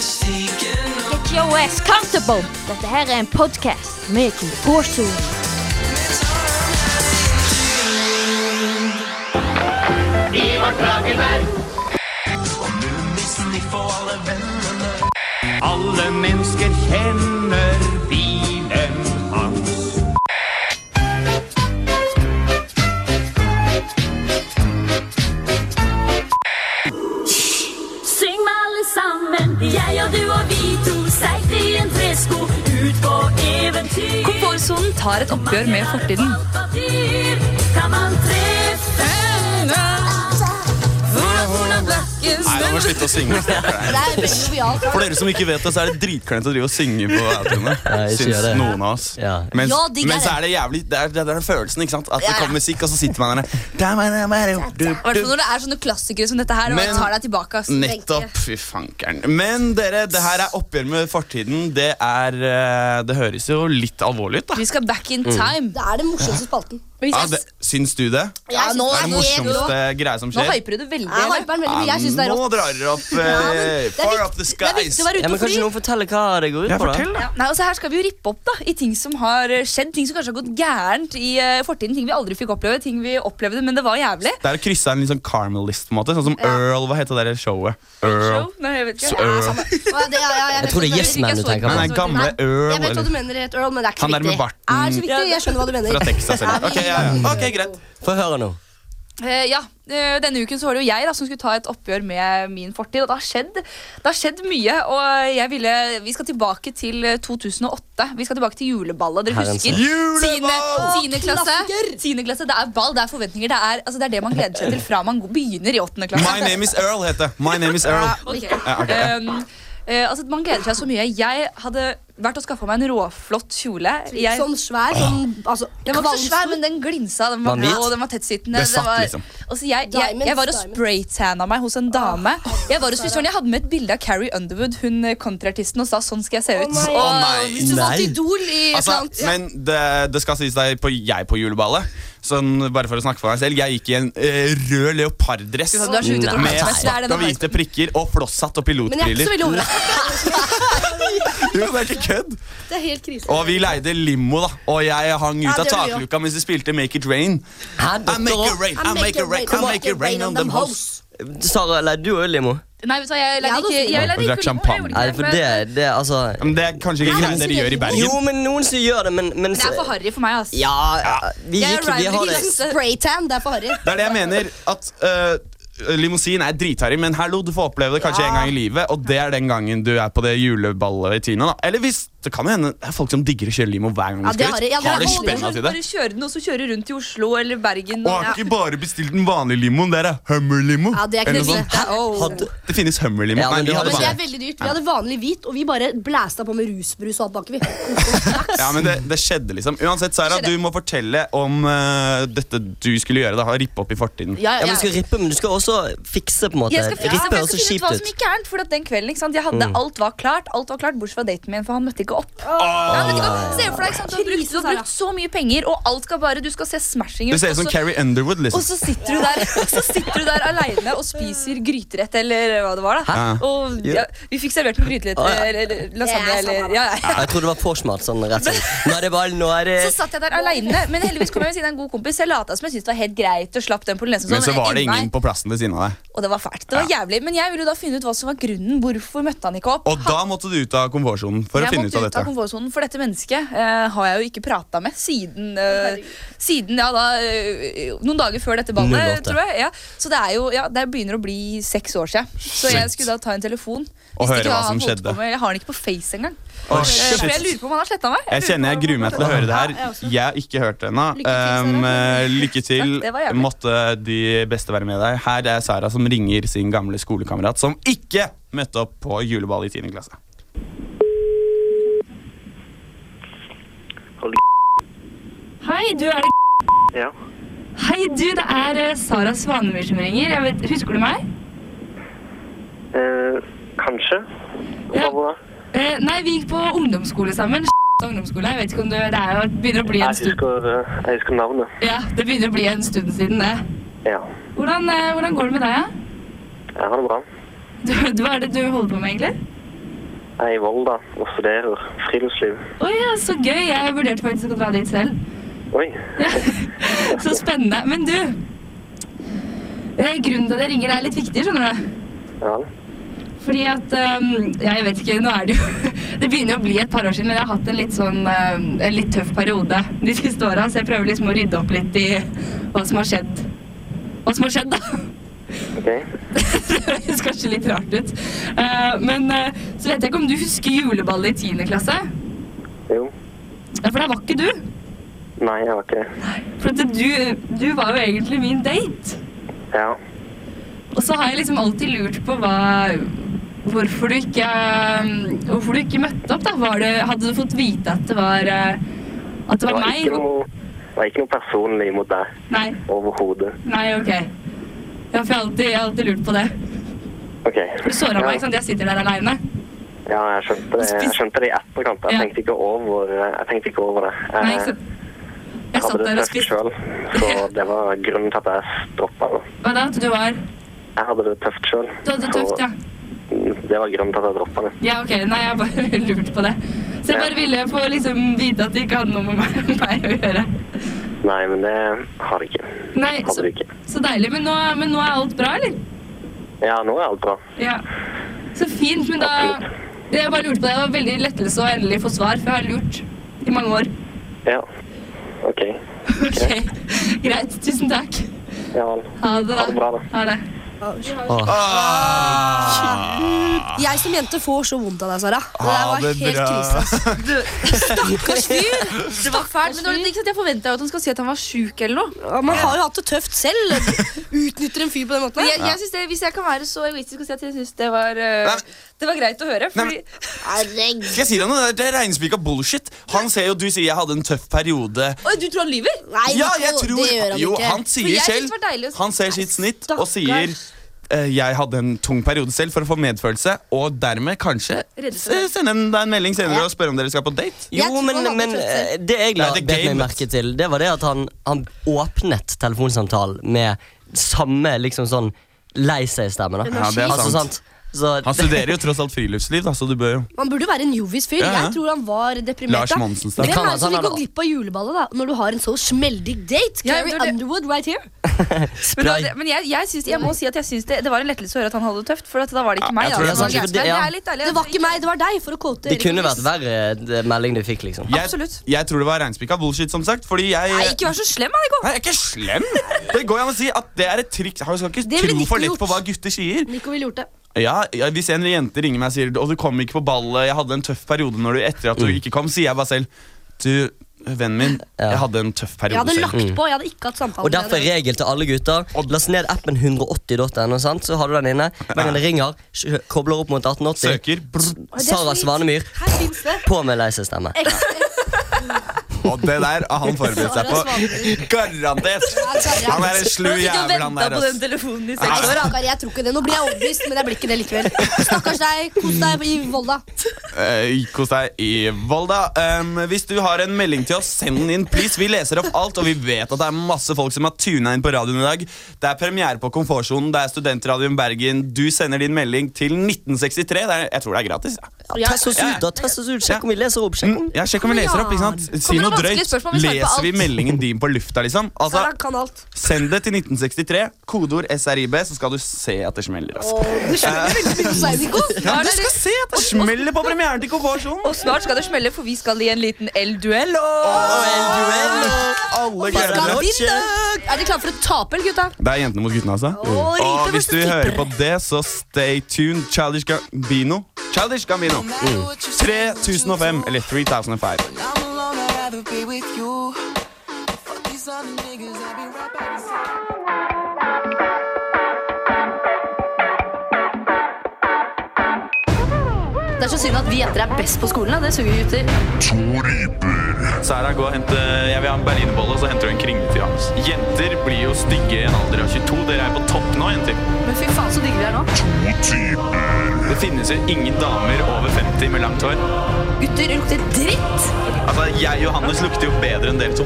Speaker 7: Get your ass comfortable. Dette her er en podcast med komfortsonen.
Speaker 9: Alle mennesker kjenner bilen hans.
Speaker 10: Syng med alle sammen, jeg og du og vi to, seigt i en tresko, ut på eventyr.
Speaker 1: Komfortsonen tar et oppgjør med fortiden.
Speaker 10: Alt av dyr kan man treffe.
Speaker 3: Nei, nå må jeg slutte å synge.
Speaker 4: *laughs* Det er veldig jovialt.
Speaker 3: For dere som ikke vet det, så er det dritklønt å drive og synge på autoene.
Speaker 2: Ja, jeg
Speaker 3: Syns
Speaker 2: sier det.
Speaker 3: noen av oss.
Speaker 2: Ja.
Speaker 3: Mens,
Speaker 4: Ja, digg er
Speaker 3: men
Speaker 4: det.
Speaker 3: så er det jævlig Det er, det er den følelsen, ikke sant? At det kommer musikk, og så sitter man
Speaker 1: I
Speaker 3: der
Speaker 4: sånn
Speaker 1: hvert fall når det er sånne klassikere som dette her. Og
Speaker 3: Men-
Speaker 1: jeg tar deg tilbake ass.
Speaker 3: Nettopp. Fy fankeren. Men dere, det her er oppgjør med fortiden. Det er eh, Det høres jo litt alvorlig ut, da.
Speaker 1: Vi skal back
Speaker 2: Mm.
Speaker 1: in time.
Speaker 4: Det er den morsomste spalten.
Speaker 3: Ja, det, syns du det? Det
Speaker 1: Ja, nå,
Speaker 3: er det morsomste greia som
Speaker 1: nå
Speaker 3: skjer.
Speaker 1: hyper du det veldig.
Speaker 4: Jeg
Speaker 1: eller?
Speaker 4: hyper den veldig, men jeg synes det er
Speaker 3: Nå
Speaker 4: rått.
Speaker 3: drar dere opp
Speaker 4: Ja, men
Speaker 3: eh,
Speaker 4: det er
Speaker 3: Far
Speaker 4: viktig-
Speaker 3: up the
Speaker 4: Det er viktig å
Speaker 3: skies.
Speaker 2: ja,
Speaker 4: være ute
Speaker 2: men
Speaker 4: og fly.
Speaker 2: Kanskje noen forteller hva det går ut
Speaker 3: Ja,
Speaker 2: på?
Speaker 3: fortell,
Speaker 2: da?
Speaker 3: da.
Speaker 1: Nei, altså Her skal vi jo rippe opp da, i ting som har eh, skjedd, ting som kanskje har gått gærent i eh, fortiden. Ting vi aldri fikk oppleve, ting vi opplevde, men det var jævlig.
Speaker 3: Det er å krysse av en litt sånn Carmel-list, på en måte. Sånn som Earl, hva heter det der showet?
Speaker 1: Show?
Speaker 3: Earl.
Speaker 1: Nei, jeg vet ikke.
Speaker 3: Earl.
Speaker 4: Ja, det- ja, ja, jeg vet
Speaker 2: Jeg tror det
Speaker 4: hva
Speaker 2: er
Speaker 4: du
Speaker 2: Yes Man
Speaker 1: Nei,
Speaker 2: du tenker på.
Speaker 3: Nei, nei, gamle
Speaker 4: mener.
Speaker 3: Earl.
Speaker 4: Nei, Jeg vet hva du
Speaker 3: eller-
Speaker 4: mener, Ed Earl, men det er ikke så
Speaker 3: Han der med
Speaker 4: viktig.
Speaker 3: barten.
Speaker 4: Er så viktig, jeg skjønner hva du mener.
Speaker 3: Fra Texas, eller?
Speaker 4: *laughs*
Speaker 3: Ok, ja.
Speaker 4: Ja,
Speaker 3: ja. Ok, greit.
Speaker 2: Få høre nå.
Speaker 1: Eh, ja, eh, Denne uken så var det jo jeg da, som skulle ta et oppgjør med min fortid. Og det har skjedd, det har skjedd mye. og jeg ville, Vi skal tilbake til eh, 2008. Vi skal tilbake til juleballet. Dere
Speaker 2: Herrens
Speaker 1: husker?
Speaker 2: år.
Speaker 1: Tiende, tiende, klasse,
Speaker 4: klassiker!
Speaker 1: tiende klasse. Det er ball, det er forventninger. Det er, altså, det er det man gleder seg til fra man begynner i åttende klasse.
Speaker 3: My name is Earl, heter det. My name is Earl. Ja, ok.
Speaker 1: Um, eh, altså, man gleder seg så mye. Jeg hadde vært og skaffa meg en råflott kjole. Jeg,
Speaker 4: Sånn svær, sånn altså,
Speaker 1: den var ikke så svær,
Speaker 4: kvalm-
Speaker 1: men den glinsa. Den
Speaker 2: Var
Speaker 1: var,
Speaker 2: den hvit?
Speaker 1: blå, den var tettsittende.
Speaker 3: Det satt,
Speaker 1: var,
Speaker 3: liksom.
Speaker 1: altså, jeg, jeg, jeg var og
Speaker 4: Diamonds,
Speaker 1: spraytanna meg hos en
Speaker 3: Ah,
Speaker 1: dame. Jeg var hos frisøren, jeg hadde med et bilde av Carrie Underwood, hun eh, countryartisten, og sa sånn skal jeg se ut.
Speaker 4: nei.
Speaker 1: Og
Speaker 3: Å, nei.
Speaker 1: Hvis du fant
Speaker 2: Nei.
Speaker 1: Idol i et eller
Speaker 3: Altså,
Speaker 1: annet
Speaker 3: men det, det skal sies deg på jeg på juleballet. Sånn, bare for å snakke for meg selv Jeg gikk i en eh, rød leoparddress
Speaker 1: Du har så ute og
Speaker 3: med
Speaker 2: Nei.
Speaker 1: drukket, men det er
Speaker 3: svarte
Speaker 1: denne
Speaker 3: og hvite prikker og flosshatt og
Speaker 4: Men jeg er ikke så
Speaker 3: pilotbriller.
Speaker 4: veldig overrasket.
Speaker 3: Jo, det er ikke kødd!
Speaker 4: Det er helt krise.
Speaker 3: Og vi leide limo, da. Og jeg hang ut
Speaker 4: Ja,
Speaker 3: av
Speaker 4: det var jo.
Speaker 3: takluka mens vi spilte Make It Rain.
Speaker 2: Hæ,
Speaker 3: I make
Speaker 2: dere
Speaker 3: it rain, I make it rain, I make it rain on them hoes.
Speaker 2: òg? Sara, eller du òg, Limo?
Speaker 1: Nei, vet du hva, jeg leide
Speaker 4: Ja,
Speaker 1: ikke
Speaker 4: da-
Speaker 1: jeg leide
Speaker 3: Og drakk
Speaker 1: ikke limo, jeg
Speaker 3: champagne.
Speaker 1: gjorde ikke
Speaker 2: Nei, for det,
Speaker 1: men-
Speaker 2: det altså
Speaker 3: Ja, Men det er kanskje ikke
Speaker 4: det
Speaker 3: greit dere gjør i
Speaker 2: Jo,
Speaker 3: Bergen.
Speaker 2: men noen som gjør det, men, men
Speaker 1: Det er for harry for meg, ass.
Speaker 2: Ja, vi
Speaker 1: Jeg
Speaker 2: gikk vi
Speaker 1: rider
Speaker 2: har
Speaker 1: ikke
Speaker 2: det
Speaker 1: langs-
Speaker 4: Spraytan, det er for harry.
Speaker 3: Det er det jeg mener. At øh, limousin er dritharry, men hallo, du får oppleve det kanskje en gang i livet. Og det er den gangen du er på det juleballet i Tina. da Eller hvis Så kan det hende det er folk som digger å kjøre limo hver gang
Speaker 1: Ja,
Speaker 3: de
Speaker 1: det
Speaker 3: skal
Speaker 1: har
Speaker 3: ut.
Speaker 1: jeg- ja, det
Speaker 3: har
Speaker 1: er
Speaker 3: de
Speaker 1: mange
Speaker 3: spenna
Speaker 1: som
Speaker 3: til det?
Speaker 1: Bare kjøre den, og så kjøre rundt i Oslo eller Bergen.
Speaker 3: Og har ikke bare bestilt den vanlige limoen, dere. Hummer-limo.
Speaker 4: Ja, det er
Speaker 3: Eller noe
Speaker 4: knusende.
Speaker 3: sånt. Det finnes hummer-limo.
Speaker 2: Ja, men
Speaker 3: Nei,
Speaker 2: du
Speaker 3: vi
Speaker 2: har
Speaker 3: hadde sånn.
Speaker 4: Men det
Speaker 3: bare
Speaker 4: er veldig dyrt. Vi hadde vanlig hvit, og vi bare blæsta på med rusbrus og alt baki. *laughs* vi.
Speaker 3: Ja, men det, det skjedde, liksom. Uansett, Sara, du må fortelle om eh, dette du skulle gjøre. da, ha Rippe opp i fortiden.
Speaker 1: Ja, ja,
Speaker 2: Ja, men
Speaker 1: ja.
Speaker 2: du skal rippe, men du skal også fikse, på en måte.
Speaker 1: Jeg skal fikse, for
Speaker 2: rippe
Speaker 1: jeg
Speaker 2: høres
Speaker 1: skal
Speaker 2: så
Speaker 1: finne ut hva
Speaker 2: kjipt
Speaker 1: som
Speaker 2: ut.
Speaker 1: gikk gærent. For at den kvelden, ikke sant, jeg hadde
Speaker 2: Mm.
Speaker 1: alt var klart, alt var klart, bortsett fra daten min, for han møtte ikke opp. Nei, han møtte ikke opp. Se for deg, ikke sant, du har brukt, du har brukt så mye penger, og alt skal bare, du skal se smashing ut.
Speaker 3: Du ser ut
Speaker 1: og
Speaker 3: som
Speaker 1: så-
Speaker 3: Carrie Underwood,
Speaker 1: Og
Speaker 3: liksom.
Speaker 1: så sitter du der, *laughs* og så sitter du der aleine og spiser gryterett eller hva det var. da
Speaker 3: Hæ?
Speaker 1: Og ja, Vi fikk servert noen gryterett
Speaker 2: Å, ja.
Speaker 1: eller eller lasagne
Speaker 4: Det er
Speaker 1: eller
Speaker 4: samme,
Speaker 1: ja, ja.
Speaker 2: Ja, Jeg trodde det var påsmart. sånn rett sånn. Nå er det bare, nå er det
Speaker 1: Så satt jeg der aleine, men heldigvis kom jeg ved siden av en god kompis. Jeg lata som jeg syntes det var helt greit og slapp den polonesen. og
Speaker 3: Men
Speaker 1: sånn,
Speaker 3: så var det
Speaker 1: jeg inn meg,
Speaker 3: ingen på plassen ved siden av deg.
Speaker 1: Og det var fælt. det var jævlig Men jeg ville jo da finne ut hva som var grunnen. Hvorfor møtte han ikke opp?
Speaker 3: Og da måtte du ut av komfortsonen for å
Speaker 1: jeg
Speaker 3: finne
Speaker 1: måtte
Speaker 3: ut av
Speaker 1: ut av
Speaker 3: dette.
Speaker 1: komfortsonen, for dette mennesket eh, har jeg jo ikke prata med siden, eh, siden ja, da, eh, noen dager før dette ballet.
Speaker 2: 08.
Speaker 1: tror jeg ja. Så det er jo, ja, det begynner å bli seks år siden. Så jeg skulle da ta en telefon.
Speaker 3: Og
Speaker 1: Visste
Speaker 3: høre
Speaker 1: ikke
Speaker 3: hva
Speaker 1: hva
Speaker 3: som
Speaker 1: han holdt
Speaker 3: skjedde.
Speaker 1: på med. Jeg har den ikke på Face engang.
Speaker 3: Å,
Speaker 1: Eh,
Speaker 3: shit.
Speaker 1: For jeg lurer på om han har sletta meg.
Speaker 3: Jeg kjenner jeg gruer meg til å høre det her. Jeg har ikke hørt det ennå.
Speaker 1: Lykke til,
Speaker 3: Um,
Speaker 1: Sara.
Speaker 3: eh, lykke til.
Speaker 1: Takk, det var jævlig.
Speaker 3: Måtte de beste være med deg. Her er Sara som ringer sin gamle skolekamerat som ikke møtte opp på juleball i 10. klasse.
Speaker 1: Hei, du er det
Speaker 11: Ja.
Speaker 1: Hei, du, det er eh, Sara Svanemyr som ringer. husker du meg?
Speaker 11: Eh, kanskje.
Speaker 1: Ja. Eh,
Speaker 11: Hva da?
Speaker 1: nei, vi gikk på ungdomsskole sammen. *laughs* Ungdomsskole, jeg vet ikke om du, Det er jo, begynner å bli
Speaker 11: Jeg husker, eh, jeg husker navnet.
Speaker 1: Ja, det begynner å bli en stund siden det.
Speaker 11: Ja.
Speaker 1: Hvordan, eh, hvordan går det med deg, ja?
Speaker 11: Jeg har det bra.
Speaker 1: Du, *laughs* du, hva er det du holder på med, egentlig?
Speaker 11: Jeg er i Volda og studerer friluftsliv.
Speaker 1: Å ja, så gøy. Jeg vurderte faktisk å dra dit selv.
Speaker 11: Oi.
Speaker 1: Så spennende. Men du eh, Grunnen til at jeg ringer, er litt viktig, skjønner du.
Speaker 11: Ja.
Speaker 1: Fordi at ehm, ja, Jeg vet ikke, nå er det jo *laughs* Det begynner jo å bli et par år siden, men jeg har hatt en litt sånn ehm, en litt tøff periode de siste åra, så jeg prøver liksom å rydde opp litt i hva som har skjedd. Hva som har skjedd, da. *laughs*
Speaker 11: Ok.
Speaker 1: Det høres kanskje litt rart ut. Eh, men eh, så vet jeg ikke om du husker juleballet i 10. klasse?
Speaker 11: Jo.
Speaker 1: Ja, for der var ikke du.
Speaker 11: Nei, jeg var ikke det.
Speaker 1: For at du, du var jo egentlig min date.
Speaker 11: Ja.
Speaker 1: Og så har jeg liksom alltid lurt på hva Hvorfor du ikke eh, Hvorfor du ikke møtte opp, da. Var det, hadde du fått vite at det var eh, At det var meg?
Speaker 11: ikke noe, det var ikke noe personlig mot deg
Speaker 1: Nei.
Speaker 11: overhodet.
Speaker 1: Nei, OK. Ja, for jeg har alltid, jeg har alltid lurt på det.
Speaker 11: Ok.
Speaker 1: Du såra meg,
Speaker 11: ja.
Speaker 1: ikke sant. Jeg sitter der aleine.
Speaker 11: Ja, jeg skjønte det. Jeg skjønte det i etterkant. Jeg
Speaker 1: Ja.
Speaker 11: tenkte ikke over, eh, jeg tenkte ikke over det.
Speaker 1: Nei,
Speaker 11: Jeg,
Speaker 1: ikke sant?
Speaker 11: jeg
Speaker 1: Jeg satt
Speaker 11: hadde
Speaker 1: der
Speaker 11: det
Speaker 1: og
Speaker 11: tøft
Speaker 1: spiste
Speaker 11: selv,
Speaker 1: *laughs*
Speaker 11: så det var grunnen til at jeg stoppet. da.
Speaker 1: Hva da? At du var
Speaker 11: Jeg hadde det tøft selv.
Speaker 1: Du hadde det
Speaker 11: så
Speaker 1: tøft, ja?
Speaker 11: Det var grunnen til at jeg droppet det.
Speaker 1: Ja, ok. Nei, jeg bare *laughs* lurte på det. Så jeg bare ville få liksom vite at det ikke hadde noe med meg, *laughs* meg å gjøre.
Speaker 11: Nei, men det har det ikke.
Speaker 1: Nei,
Speaker 11: Hadde
Speaker 1: så,
Speaker 11: det ikke.
Speaker 1: så deilig. Men nå, men nå er alt bra, eller?
Speaker 11: Ja, nå er alt bra.
Speaker 1: Ja. Så fint, men da Jeg bare lurte på det. Det var veldig lettelse å endelig få svar, for jeg har lurt i mange år.
Speaker 11: Ja. *laughs* OK.
Speaker 1: Ok, Greit. Tusen takk.
Speaker 11: Ja vel.
Speaker 1: Ha det,
Speaker 11: Ha
Speaker 1: da.
Speaker 11: det bra, da.
Speaker 1: Ha det. Ah!
Speaker 4: Jeg som jente får så vondt av deg, Sara. Det der
Speaker 3: Ha
Speaker 4: var
Speaker 3: Ah, det
Speaker 4: helt
Speaker 3: bra.
Speaker 4: krise. altså. ass.
Speaker 1: Stakkars fyr! Det var fælt, men det var litt- ikke sant, jeg forventa jo at han skal si at han var sjuk eller noe.
Speaker 4: Ja, Man har jo hatt det tøft selv. *laughs* Utnytter en fyr på den måten.
Speaker 1: Men
Speaker 4: her.
Speaker 1: jeg, jeg synes det, Hvis jeg kan være så egoistisk og si at jeg syns det, var, eh,
Speaker 3: Nei.
Speaker 1: det var greit å høre fordi,
Speaker 3: Skal jeg si deg noe? Det er regnspika bullshit. Han ser jo du sier jeg hadde en tøff periode.
Speaker 1: Oi, du tror han lyver?
Speaker 4: Nei,
Speaker 3: Ja, jeg
Speaker 4: Nico,
Speaker 3: tror
Speaker 4: det gjør han
Speaker 3: Jo,
Speaker 4: ikke.
Speaker 3: han
Speaker 1: For
Speaker 3: sier
Speaker 1: jeg synes
Speaker 3: selv
Speaker 1: det var deilig å-
Speaker 3: Han ser sitt snitt og sier eh, jeg hadde en tung periode selv for å få medfølelse, og dermed kanskje
Speaker 1: Redde
Speaker 3: s-
Speaker 1: seg.
Speaker 3: sende en- deg en melding senere og spørre om dere skal på date.
Speaker 4: Jeg
Speaker 2: Jo,
Speaker 4: tror
Speaker 2: men,
Speaker 4: han hadde
Speaker 2: men
Speaker 4: tøft selv.
Speaker 2: eh, det jeg la
Speaker 3: Nei, det er
Speaker 2: bet meg
Speaker 3: gamet.
Speaker 2: merke til, det var det at han, han åpnet telefonsamtalen med samme liksom sånn lei seg-stemme. da.
Speaker 3: Ja, det er
Speaker 2: Altså,
Speaker 3: sant.
Speaker 2: sant? Så,
Speaker 3: Han
Speaker 2: *laughs*
Speaker 3: studerer jo tross alt friluftsliv, da, så du bør jo
Speaker 4: Man burde jo være en jovis fyr.
Speaker 3: Ja, ja.
Speaker 4: Jeg tror han var deprimert.
Speaker 3: Lars
Speaker 4: da.
Speaker 3: Monsen sterk.
Speaker 4: Hvem
Speaker 2: Det kan han,
Speaker 4: er det som
Speaker 2: han
Speaker 4: vil
Speaker 2: er
Speaker 4: gå
Speaker 2: da-
Speaker 4: glipp av juleballet da, når du har en så smeldig date?
Speaker 1: Ja,
Speaker 4: Carrie
Speaker 1: det var det-
Speaker 4: Underwood right here.
Speaker 1: Men, det var
Speaker 2: Spray.
Speaker 1: det- men jeg, jeg, syns- jeg må si at jeg syns det, det var en lettelse å høre at han hadde det tøft, for at da var det ikke
Speaker 3: Ja,
Speaker 1: meg.
Speaker 2: jeg
Speaker 1: da.
Speaker 2: tror det er
Speaker 1: var
Speaker 2: sant,
Speaker 1: greit,
Speaker 2: for det-
Speaker 1: men
Speaker 2: ja.
Speaker 1: er litt deilig.
Speaker 4: Det var ikke meg, det var deg, for å quote
Speaker 2: Det
Speaker 4: Erik
Speaker 2: kunne
Speaker 4: Ries.
Speaker 2: vært verre, eh, det melding du fikk, liksom.
Speaker 3: jeg,
Speaker 1: Absolutt.
Speaker 3: jeg tror det var regnspika bullshit, som sagt. Fordi jeg
Speaker 1: Nei, ikke vær så slem, Annico.
Speaker 3: Nei, jeg er ikke slem! Det går jo an å si at det er et triks. Han skal ikke
Speaker 4: Det ville
Speaker 3: tro
Speaker 4: Nico
Speaker 3: for lett
Speaker 4: gjort.
Speaker 3: på hva gutter sier.
Speaker 4: Nico ville gjort det.
Speaker 3: Ja, ja, Hvis en jente ringer meg og sier Og du kom ikke på ballet, jeg hadde en tøff periode når du etter at du ikke kom, sier jeg bare selv Du, vennen min, jeg hadde en tøff
Speaker 4: Jeg
Speaker 3: periode
Speaker 4: hadde
Speaker 3: selv.
Speaker 4: lagt
Speaker 1: Mm.
Speaker 4: på, jeg hadde ikke hatt samtale
Speaker 2: Og derfor er regel til alle gutter. Last ned appen 180.no, sant? så har du den inne. Hver gang det ringer, sj- kobler opp mot 1880.
Speaker 3: Søker.
Speaker 2: Brr, Sara Svanemyr. På med leisestemme.
Speaker 3: Og det der har han forberedt seg på. Garantert! Han er en slu jævel, han der. ass.
Speaker 1: telefonen i
Speaker 3: seks år,
Speaker 4: Stakkar, jeg tror ikke det. Nå blir jeg overbevist, men jeg blir ikke det likevel. Stakkars deg. Kos deg i Volda.
Speaker 3: Eh, Kos deg i Volda. Um, hvis du har en melding til oss, send den inn, please. Vi leser opp alt, og vi vet at det er masse folk som har tuna inn på radioen i dag. Det er premiere på Komfortsonen, det er Studentradioen Bergen. Du sender din melding til 1963. Det er, jeg tror det er gratis. Ja.
Speaker 2: Ja, test oss ut, da. Test oss ut. Sjekk om vi leser opp. Sjekk om
Speaker 3: Ja, Sjekk om vi leser opp. ikke sant?
Speaker 2: Kommer
Speaker 3: Si
Speaker 2: det
Speaker 3: noe
Speaker 2: vanskelige
Speaker 3: drøyt.
Speaker 2: spørsmål? Vi svarer på alt.
Speaker 3: Leser vi meldingen din på lufta, liksom? Altså,
Speaker 4: Sara kan alt.
Speaker 3: Send det til 1963, kodeord SRIB, så skal du se at det smeller. Altså.
Speaker 4: Du skjønner veldig mye hos deg, Nico.
Speaker 3: Ja, du skal se at det smeller på premieren til Komfortsonen!
Speaker 1: Og snart skal det smelle, for vi skal i en liten El-duell.
Speaker 3: Alle gleder
Speaker 4: Skal
Speaker 3: seg.
Speaker 4: vinne. Er dere klare for å tape, eller, gutta?
Speaker 3: Det er jentene mot guttene, altså.
Speaker 4: riktig,
Speaker 3: Og hvis du hører på det, så stay tuned. Childish Gambino. Childish Gambino. 3005, eller 3005.
Speaker 4: Det er så synd at vi jenter er best på skolen. da. Det suger vi gutter.
Speaker 3: Sara, gå og hente Jeg vil ha en berlinerbolle, og så henter du en kringle til Hans. Jenter blir jo stygge i en alder av 22. Dere er på topp nå, jenter.
Speaker 4: Men fy faen, så digge vi er nå.
Speaker 3: Det finnes jo ingen damer over 50 med langt hår.
Speaker 4: Gutter lukter dritt.
Speaker 3: Altså, jeg og Hannes lukter jo bedre enn dere to.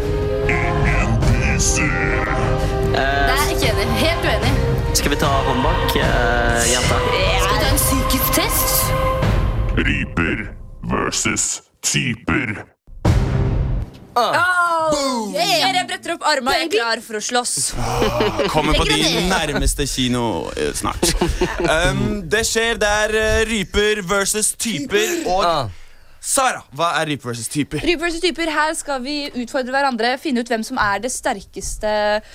Speaker 7: Nei, ikke enig. Helt uenig.
Speaker 2: Skal vi ta håndbak, eh, jenta?
Speaker 7: Skal du ta en psykisk test?
Speaker 12: Ryper versus typer.
Speaker 1: Oh, yeah. Dere bretter opp armene, jeg er klar for å slåss.
Speaker 3: Kommer på din nærmeste kino eh, snart. Um, det skjer der eh, ryper versus typer.
Speaker 2: Ah.
Speaker 3: Og Sara, hva er ryper versus typer?
Speaker 1: Ryper versus typer, Her skal vi utfordre hverandre, finne ut hvem som er det sterkeste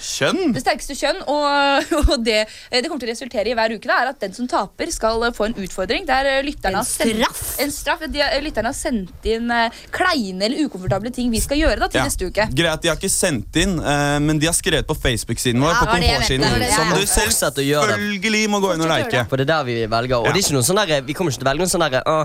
Speaker 3: Kjønn?
Speaker 1: Det sterkeste kjønn, og, *laughs* og det, eh, det kommer til å resultere i hver uke, da, er at den som taper, skal eh, få en utfordring. Der eh, lytterne har sendt, en straff. De, eh, lytterne har sendt inn eh, kleine eller ukomfortable ting vi skal gjøre da, til
Speaker 3: Ja.
Speaker 1: neste uke.
Speaker 3: Greit, de har ikke sendt inn, eh, men de har skrevet på Facebook-siden
Speaker 1: Ja,
Speaker 3: vår.
Speaker 1: det
Speaker 3: på
Speaker 1: var det jeg mente,
Speaker 3: komfortsiden,
Speaker 1: det var det jeg
Speaker 3: Som du
Speaker 1: mente.
Speaker 3: selv
Speaker 2: Fortsett å gjøre det.
Speaker 3: selvfølgelig må gå inn og like.
Speaker 2: For det er der vi velger. Og det er ikke noe sånn der, vi kommer ikke til å velge noen sånn derre «Å,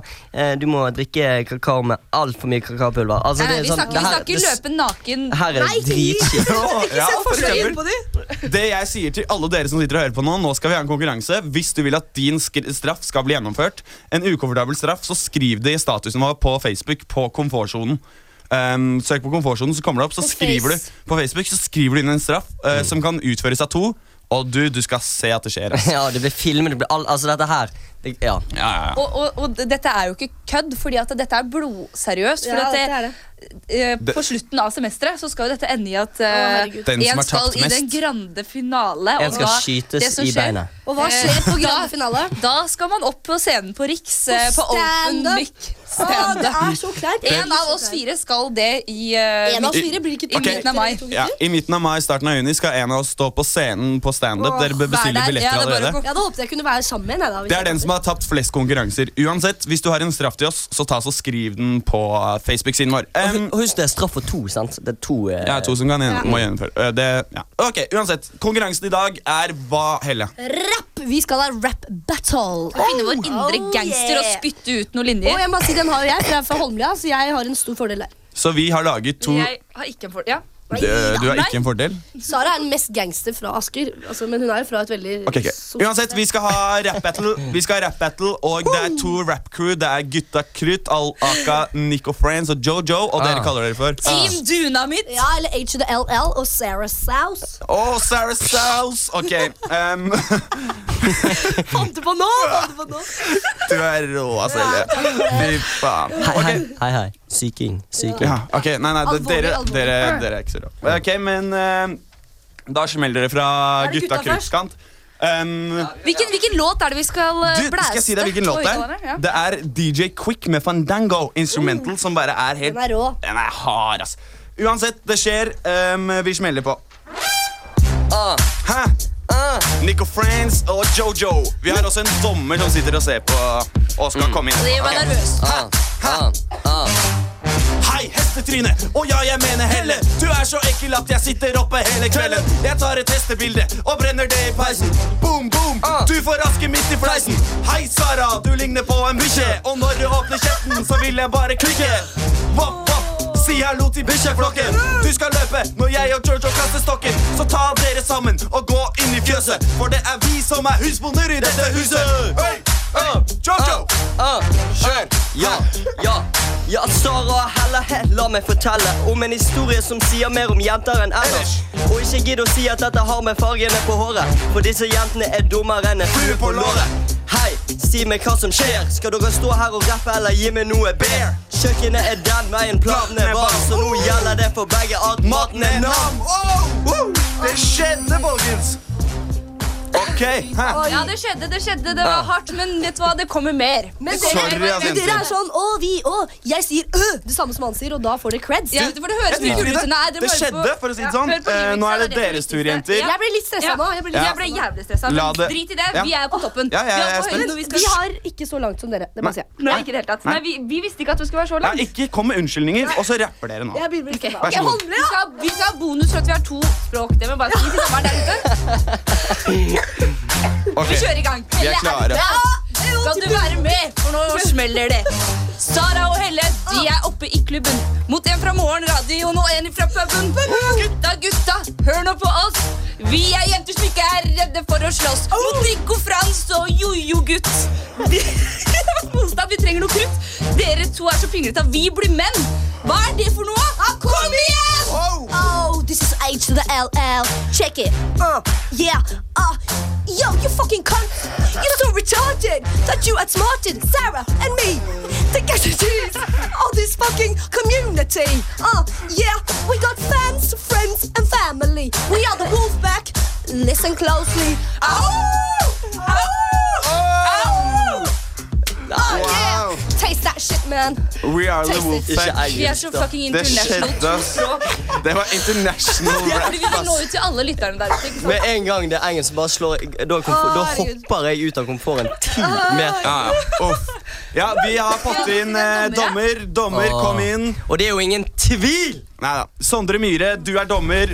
Speaker 2: eh, Du må drikke kakao med altfor mye kakaopulver. Altså,
Speaker 1: Nei,
Speaker 2: det er
Speaker 1: Eh, vi
Speaker 2: sånn,
Speaker 1: snakker,
Speaker 2: det
Speaker 1: vi
Speaker 2: her-
Speaker 1: snakker
Speaker 2: det s-
Speaker 1: løpe naken.
Speaker 2: Her er det dritkjipt.
Speaker 3: Ja, for
Speaker 1: forskjell
Speaker 3: eksempel. Det jeg sier til alle dere som sitter og hører på nå, nå skal vi ha en konkurranse. Hvis du vil at din skr- straff skal bli gjennomført, en ukomfortabel straff, så skriv det i statusen vår på Facebook på komfortsonen. Um, søk på komfortsonen, så kommer det opp. Så
Speaker 13: På
Speaker 3: skriver du
Speaker 13: Face.
Speaker 3: på Facebook så skriver du inn en straff eh,
Speaker 2: Mm.
Speaker 3: som kan utføres av to. Og du, du skal se at det skjer. ass.
Speaker 2: *laughs* Ja, det blir filmet, det blir all, altså dette her. Det, ja.
Speaker 3: Ja, ja, ja.
Speaker 1: Og, og, og d- dette er jo ikke kødd, fordi at dette er blodseriøst.
Speaker 4: Ja,
Speaker 1: fordi
Speaker 4: dette
Speaker 1: at
Speaker 4: er
Speaker 1: det, eh,
Speaker 3: Det-
Speaker 1: på slutten av semesteret så skal jo dette ende i at eh,
Speaker 3: herregud. Den som
Speaker 1: en
Speaker 3: har
Speaker 1: skal
Speaker 3: tapt
Speaker 1: i den
Speaker 3: mest.
Speaker 1: grande finale.
Speaker 2: En
Speaker 1: og
Speaker 2: skal
Speaker 1: da-
Speaker 2: skytes
Speaker 1: det som
Speaker 2: i
Speaker 1: skjer-
Speaker 2: beinet.
Speaker 4: Og hva skjer på grande
Speaker 1: Da-
Speaker 4: finale?
Speaker 1: Da skal man opp på scenen på Riks. eh, på open
Speaker 4: stand-up.
Speaker 1: mic.
Speaker 4: Å, Ah, det er så kleint.
Speaker 1: En av oss fire skal det i eh,
Speaker 4: En av oss
Speaker 1: midt-
Speaker 4: fire blir ikke
Speaker 1: i
Speaker 4: to
Speaker 1: midten av mai.
Speaker 4: gutter.
Speaker 3: Ja, I midten av mai, starten av juni skal en av oss stå på scenen på standup. Dere bør bestille billetter allerede.
Speaker 4: Jeg hadde håpet jeg kunne være sammen med en. jeg, da, hvis
Speaker 3: Det er
Speaker 4: jeg
Speaker 3: den som har tapt flest konkurranser. Uansett, Hvis du har en straff til oss, så ta så skriv den på eh, Facebook-siden vår.
Speaker 2: Og hu- Husk det er straff for to, sant? Det er to eh,
Speaker 3: Ja, to som kan gjen- må gjennomføre. Eh, Det, ja. Ok, Uansett, konkurransen i dag er hva, Helle?
Speaker 1: Eh.
Speaker 4: Rapp! Vi skal ha rap battle.
Speaker 1: Finne vår indre gangster og spytte ut noen linjer.
Speaker 4: Og jeg må si, den har jo jeg, for jeg er fra Holmlia, så jeg har en stor fordel der.
Speaker 3: Så vi har laget to
Speaker 1: Jeg har ikke en for... Ja.
Speaker 3: Eh, Du har ikke en fordel?
Speaker 4: Sara er den mest gangster fra Asker, altså, men hun er jo fra et veldig
Speaker 3: Ok, ok. Uansett, vi skal ha rap-battle, Vi skal ha rap-battle, og det er to rap-crew. Det er Gutta Krutt, Al-Aka, Nico Friends og Jojo, og dere
Speaker 2: Ah.
Speaker 3: kaller dere for
Speaker 1: Team Dunamit.
Speaker 4: Ja, eller H to the LL og Sarah Souse.
Speaker 3: Å, Sarah Stouse! Ok. em, *laughs*
Speaker 4: Fant du på nå? Fant du på nå?
Speaker 3: du er rå, altså, Helle. Fy faen.
Speaker 2: Hei,
Speaker 3: Ok,
Speaker 2: hei, hei, hei. Syking. Syking.
Speaker 3: Ja, ok, nei, nei, det,
Speaker 4: Alvorlig,
Speaker 3: dere,
Speaker 4: alvorlig.
Speaker 3: dere, dere er ikke så rå. Ok, men eh, da smeller dere fra
Speaker 1: Er det
Speaker 3: gutta
Speaker 1: gutta først?
Speaker 3: kruttkant. Um,
Speaker 1: Hvilken, hvilken låt er det vi skal eh,
Speaker 3: du,
Speaker 1: blæste?
Speaker 3: skal jeg si deg hvilken låt det
Speaker 1: Oi,
Speaker 3: er?
Speaker 1: ja.
Speaker 3: Det er DJ Quick med Fandango Instrumental, som bare er helt
Speaker 4: Den er rå.
Speaker 3: Den er hard, ass. ehm, Uansett, det skjer. Um, vi smeller på. Hæ? Nico Friends og Jojo. Vi har også en dommer som sitter og ser på og skal komme inn.
Speaker 6: Så jeg var
Speaker 3: Ok.
Speaker 6: nervøs.
Speaker 3: Ah, ah, ah. Hei, hestetryne! Og ja, jeg mener Helle. Du er så ekkel at jeg sitter oppe hele kvelden. Jeg tar et hestebilde og brenner det i peisen. Boom, boom! Du får aske midt i fleisen. Hei, Sara, du ligner på en bikkje. Og når du åpner kjeften, så vil jeg bare klikke. Vopp, vopp, si hallo til bikkjeflokken. Du skal løpe når jeg og Jojo kaster stokken. Så ta dere sammen og gå inn i fjøset. For det er vi som er husbonder i dette huset. Hey, Ah, hey, Jojo!
Speaker 2: Ah, Kjør! Ja, ja. Ja, Sara og Helle, he- la meg fortelle om en historie som sier mer om jenter enn ellers. Og ikke gidd å si at dette har med fargene på håret, for disse jentene er dummere enn en flue på låret. Hei, si meg hva som skjer. Skal dere stå her og rappe eller gi meg noe bear? Kjøkkenet er den veien planene var, så nå gjelder det for begge at maten er nam.
Speaker 3: Det skjedde, folkens! OK. hæ?
Speaker 1: Ja, det skjedde, det skjedde. Det var
Speaker 3: Ja.
Speaker 1: hardt, men vet du hva, det kommer mer.
Speaker 10: Men
Speaker 1: Det
Speaker 10: dere,
Speaker 1: kommer mer.
Speaker 3: altså,
Speaker 10: men dere er sånn å, vi å. Jeg sier ø, det samme som han sier, og da får dere creds.
Speaker 1: Ja, for det høres
Speaker 3: Jeg driter i det.
Speaker 1: Nei, dere må
Speaker 3: Det
Speaker 1: høre på-
Speaker 3: skjedde, for å si det
Speaker 1: Ja,
Speaker 3: sånn.
Speaker 1: hør på
Speaker 3: Eh,
Speaker 1: remixen,
Speaker 3: Nå er det
Speaker 1: det er det
Speaker 3: deres tur, jenter.
Speaker 10: Jeg ble litt stressa nå. Jeg ble, litt
Speaker 1: Jeg
Speaker 3: Ja.
Speaker 1: ble jævlig stressa.
Speaker 3: La
Speaker 1: Men
Speaker 3: det-
Speaker 1: drit i det.
Speaker 3: Ja.
Speaker 1: Vi er på toppen.
Speaker 3: Ja, ja,
Speaker 1: Vi er
Speaker 3: jeg er
Speaker 1: på
Speaker 3: spent.
Speaker 1: høyden, og
Speaker 10: vi,
Speaker 1: vi skal-
Speaker 10: har ikke så langt som dere. Det må jeg si.
Speaker 1: Nei, ikke i det hele tatt. Nei, vi, vi visste ikke at det skulle være så
Speaker 3: Nei,
Speaker 1: langt.
Speaker 3: ikke kom med unnskyldninger, og så rapper dere nå.
Speaker 10: Jeg blir vel
Speaker 3: Vær så god.
Speaker 1: Vi skal, vi skal ha bonus for at vi har to språk. Det må jeg bare si til sommeren der ute.
Speaker 3: Ok,
Speaker 1: Vi kjører i gang.
Speaker 3: Vi er klare.
Speaker 1: Ja, Skal du være med, for nå smeller det. Sara og Helle de er oppe i klubben. Mot en fra morgenradioen og en fra puben. Gutta, gutta, hør nå på oss. Vi er jenter som ikke er redde for å slåss. Mot Nico Frans og jojo-gutt. De- *laughs* Motstand, vi trenger noe krutt. Dere to er så pinglete at vi blir menn. Hva er det for noe? Kom igjen!
Speaker 4: Ah, Oh, this is H to the LL. Check it. Uh, yeah. Uh, yo, you fucking cunt. You're so retarded that you outsmarted Sarah and me. Think as it is. All this fucking community. Uh, yeah, we got fans, friends, and family. We are the Wolfpack. Listen closely. Ow! Ow! Ow! Oh,
Speaker 3: Wow.
Speaker 4: yeah. Taste that shit, man.
Speaker 3: We are the
Speaker 4: Taste it.
Speaker 3: Wolfpack.
Speaker 1: Vi er så fucking
Speaker 3: Det
Speaker 1: international.
Speaker 3: skjedde, ass. Det var international
Speaker 1: Ja,
Speaker 3: rap,
Speaker 1: fordi vi vil nå
Speaker 3: ass.
Speaker 1: ut til alle lytterne der ute. ikke sant?
Speaker 2: Med en gang det er engelsk, bare slår jeg- da, komfort, da hopper jeg ut av komforten ti
Speaker 1: Ah.
Speaker 2: meter.
Speaker 3: Ja, ja. Uff. Ja, vi har fått inn eh, dommer. Dommer,
Speaker 2: Åh.
Speaker 3: kom inn.
Speaker 2: Og det er jo ingen tvil!
Speaker 3: Neida. Sondre Myhre, du er dommer.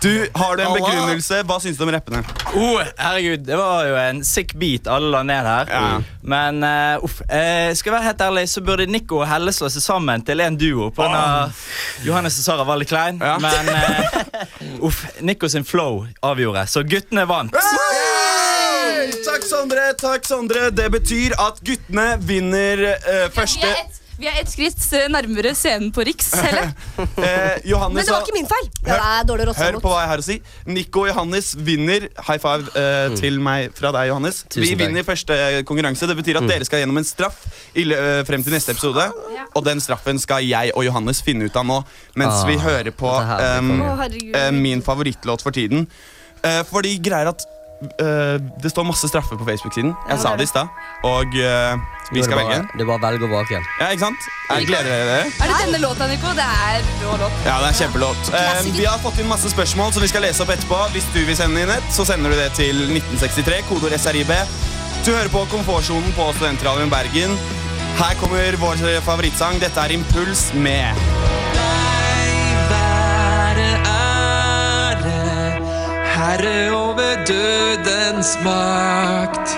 Speaker 3: Du, Har du en
Speaker 14: Halla.
Speaker 3: begrunnelse? Hva syns du om rappene?
Speaker 14: Oh, herregud, det var jo en sick beat alle la ned her. Men eh, uff. eh, skal jeg være helt ærlig, så burde Nico og Helle slå seg sammen til en duo. På denne Johannes og Sara var litt klein, men eh, uff, Nico sin flow avgjorde, så guttene vant.
Speaker 3: Hey! Takk, Sondre. Takk, Sondre. Det betyr at guttene vinner eh,
Speaker 1: Vi
Speaker 3: første
Speaker 1: er ett- Vi er ett skritt eh, nærmere scenen på
Speaker 3: *laughs*
Speaker 1: Riks, eller?
Speaker 3: Eh, Johannes
Speaker 10: Men det var
Speaker 3: og-
Speaker 10: ikke min feil. Det
Speaker 3: Hør,
Speaker 10: er dårlig
Speaker 3: hør
Speaker 10: rotsamot.
Speaker 3: på hva jeg har å si. Nico og Johannes vinner. High five eh, til meg fra deg, Johannes. Vi
Speaker 14: Mm. Tusen takk. Mm.
Speaker 3: vinner første eh, konkurranse. Det betyr at dere skal gjennom en straff i, lø- eh, frem til neste episode. Og den straffen skal jeg og Johannes finne ut av nå, mens
Speaker 14: Ah,
Speaker 3: vi hører på
Speaker 14: her blir
Speaker 3: em,
Speaker 14: konge.
Speaker 10: Å, herregud.
Speaker 3: eh, min favorittlåt for tiden. Eh, fordi greier at eh, det står masse straffer på Facebook-siden. Jeg sa det i stad. Og eh, vi
Speaker 2: Nå er det
Speaker 3: skal
Speaker 2: bare-
Speaker 3: velge.
Speaker 2: Det er bare å velge og vrake igjen.
Speaker 3: Ja, ikke sant? Jeg gleder dere.
Speaker 1: Er det denne låta, Nico? Det er rå låt.
Speaker 3: Ja, det er kjempelåt. Eh, vi har fått inn masse spørsmål som vi skal lese opp etterpå. Hvis du vil sende inn et, så sender du det til 1963, kodeord SRIB. Du hører på Komfortsonen på Studentradioen Bergen. Her kommer vår favorittsang. Dette er Impuls med
Speaker 15: Ære, ære, herre over dødens makt.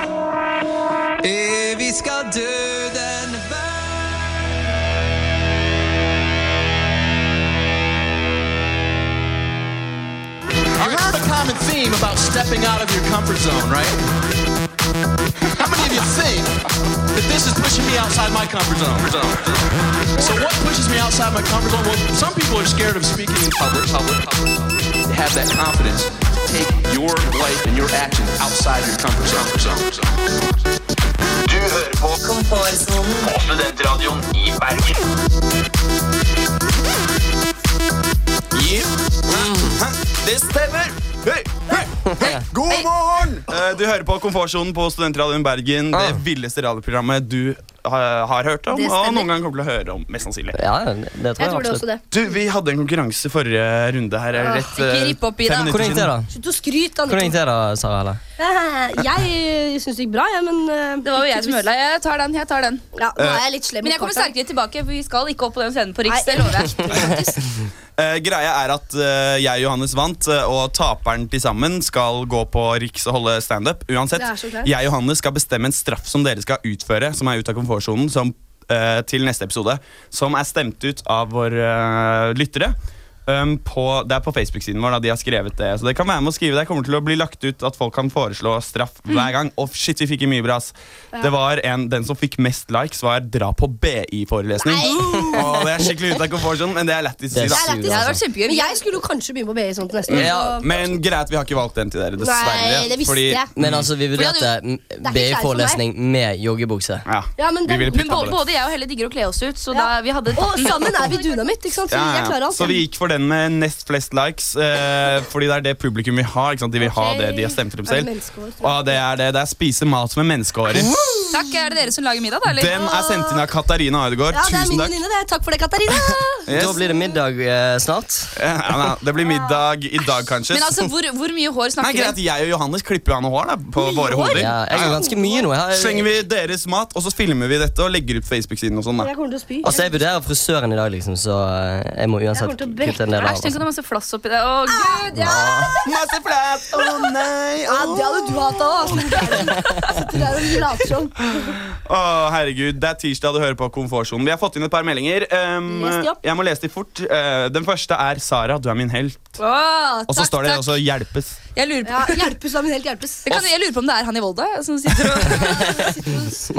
Speaker 15: Evig skal døden være
Speaker 5: You heard a common theme about stepping out of your comfort zone, right? How many of you think that this is pushing me outside my comfort zone? So what pushes me outside my comfort zone? Well, some people are scared of speaking in public, public, public. Have that confidence. Take your life and your actions outside your comfort zone.
Speaker 15: Du hører på Komfortsonen på Studentradioen i Bergen.
Speaker 3: Yeah. Mhm. Det stemmer! hei, hei, hei, god morgen! Eh, Du hører på Komfortsonen på Studentradioen Bergen. Det villeste radioprogrammet du har, har hørt om,
Speaker 4: Ah. Det
Speaker 3: og
Speaker 4: stemmer.
Speaker 3: noen gang kommer til å høre om. mest sannsynlig.
Speaker 4: tror jeg Jeg tror det absolutt. også det.
Speaker 3: Du, Vi hadde en konkurranse forrige runde her.
Speaker 4: Åh,
Speaker 3: rett,
Speaker 4: Ah. ikke
Speaker 3: eh,
Speaker 4: ripp opp i
Speaker 3: fem
Speaker 4: det.
Speaker 3: minutter
Speaker 2: Hvordan gikk det,
Speaker 3: siden.
Speaker 4: Slutt å skryte,
Speaker 2: Hvordan gikk
Speaker 4: Anette.
Speaker 2: det da, Sara? Eller?
Speaker 4: Eh, Jeg syns det gikk bra, jeg, men eh,
Speaker 1: Det var jo jeg som ødela. Jeg tar den. jeg tar den
Speaker 4: Ja, nå er jeg litt slem
Speaker 1: Men jeg kommer sterkere tilbake, for vi skal ikke opp på den scenen på Riks. Det *laughs* lover jeg.
Speaker 3: Eh, greia er at eh, jeg og Johannes vant, eh, og taperen til sammen skal gå på Riks og holde standup. Uansett,
Speaker 16: Det er så klart.
Speaker 3: jeg og Johannes skal bestemme en straff som dere skal utføre, som er ut av komfortsonen, som, eh, til neste episode. Som er stemt ut av våre eh, lyttere. Um, på, det er på Facebook-siden vår. da, de har skrevet det Så det kan være med å skrive det kommer til å bli lagt ut at folk kan foreslå straff
Speaker 16: Mm.
Speaker 3: hver gang. Og shit, vi fikk inn mye bra. ass. Det var en, Den som fikk mest likes, var 'dra på BI-forelesning'. Og det er skikkelig ut av komfortsonen, men det er lættis å si.
Speaker 4: Det
Speaker 3: da.
Speaker 4: er lættis. Men jeg skulle jo kanskje begynne på BI sånn til neste år.
Speaker 3: Ja,
Speaker 4: så-
Speaker 3: men greit, vi har ikke valgt den til dere, dessverre.
Speaker 4: Nei, det visste jeg.
Speaker 2: Men altså, vi
Speaker 4: Fordi
Speaker 2: vurderte
Speaker 4: du-
Speaker 2: m-
Speaker 4: ikke
Speaker 2: BI-forelesning med joggebukse.
Speaker 4: Ja, men den-
Speaker 1: Men både, både jeg og Helle digger å kle oss ut, så da vi hadde
Speaker 4: Og
Speaker 1: *laughs*
Speaker 4: sammen er vi dynamitt, ikke sant? Så jeg klarer alt.
Speaker 3: Så vi gikk for den med nest flest likes, eh, fordi det er det publikum vil ha. ikke sant? De vil ha
Speaker 1: Ok.
Speaker 3: det de har stemt frem
Speaker 1: Er det
Speaker 3: selv.
Speaker 1: menneskehår, tror jeg?
Speaker 3: Og det er det. Det er spise mat med menneskehårer.
Speaker 1: Takk, Er det dere som lager middag, da? eller?
Speaker 3: Den er sendt inn av Katarina Ødegaard.
Speaker 4: Ja, det er
Speaker 3: Tusen
Speaker 4: min
Speaker 3: takk.
Speaker 4: venninne, det. Takk for det, Katarina.
Speaker 3: Da blir det middag
Speaker 2: eh,
Speaker 3: snart. Ja, ja, det blir middag i dag, kanskje.
Speaker 1: Men altså, hvor, hvor mye hår
Speaker 3: *laughs* Nei,
Speaker 1: snakker
Speaker 3: greit, Jeg og Johannes klipper jo av noe hår da, på våre
Speaker 1: hår?
Speaker 3: hoder.
Speaker 1: Ja, jeg har ganske
Speaker 2: mye nå.
Speaker 3: Slenger vi deres mat, og så filmer vi dette og legger ut på Facebook-siden. og sånn da.
Speaker 4: Jeg kommer til å spy.
Speaker 2: Altså, Jeg vurderer frisøren i dag, liksom, så eh, jeg må
Speaker 1: Jeg
Speaker 2: uansett
Speaker 1: kommer til å
Speaker 2: kutte en del av.
Speaker 1: Æsj, tenk om det er masse flass oppi det. Å, gud, ja.
Speaker 3: Masse flass! Å nei!
Speaker 4: Ja, det hadde du hatt altså. òg. Sitter der og later som.
Speaker 3: Å, herregud, Det er tirsdag, du hører på Komfortsonen. Vi har fått inn et par meldinger. Um,
Speaker 4: Les de opp.
Speaker 3: jeg må lese de fort. Uh, den første er Sara, du er min helt.
Speaker 1: Å,
Speaker 3: Og så
Speaker 1: takk,
Speaker 3: står det
Speaker 1: takk.
Speaker 3: også 'hjelpes'.
Speaker 1: Jeg lurer på,
Speaker 4: hjelpes, da, men helt hjelpes.
Speaker 1: Jeg, kan, jeg lurer på om det er han i Volda som sitter og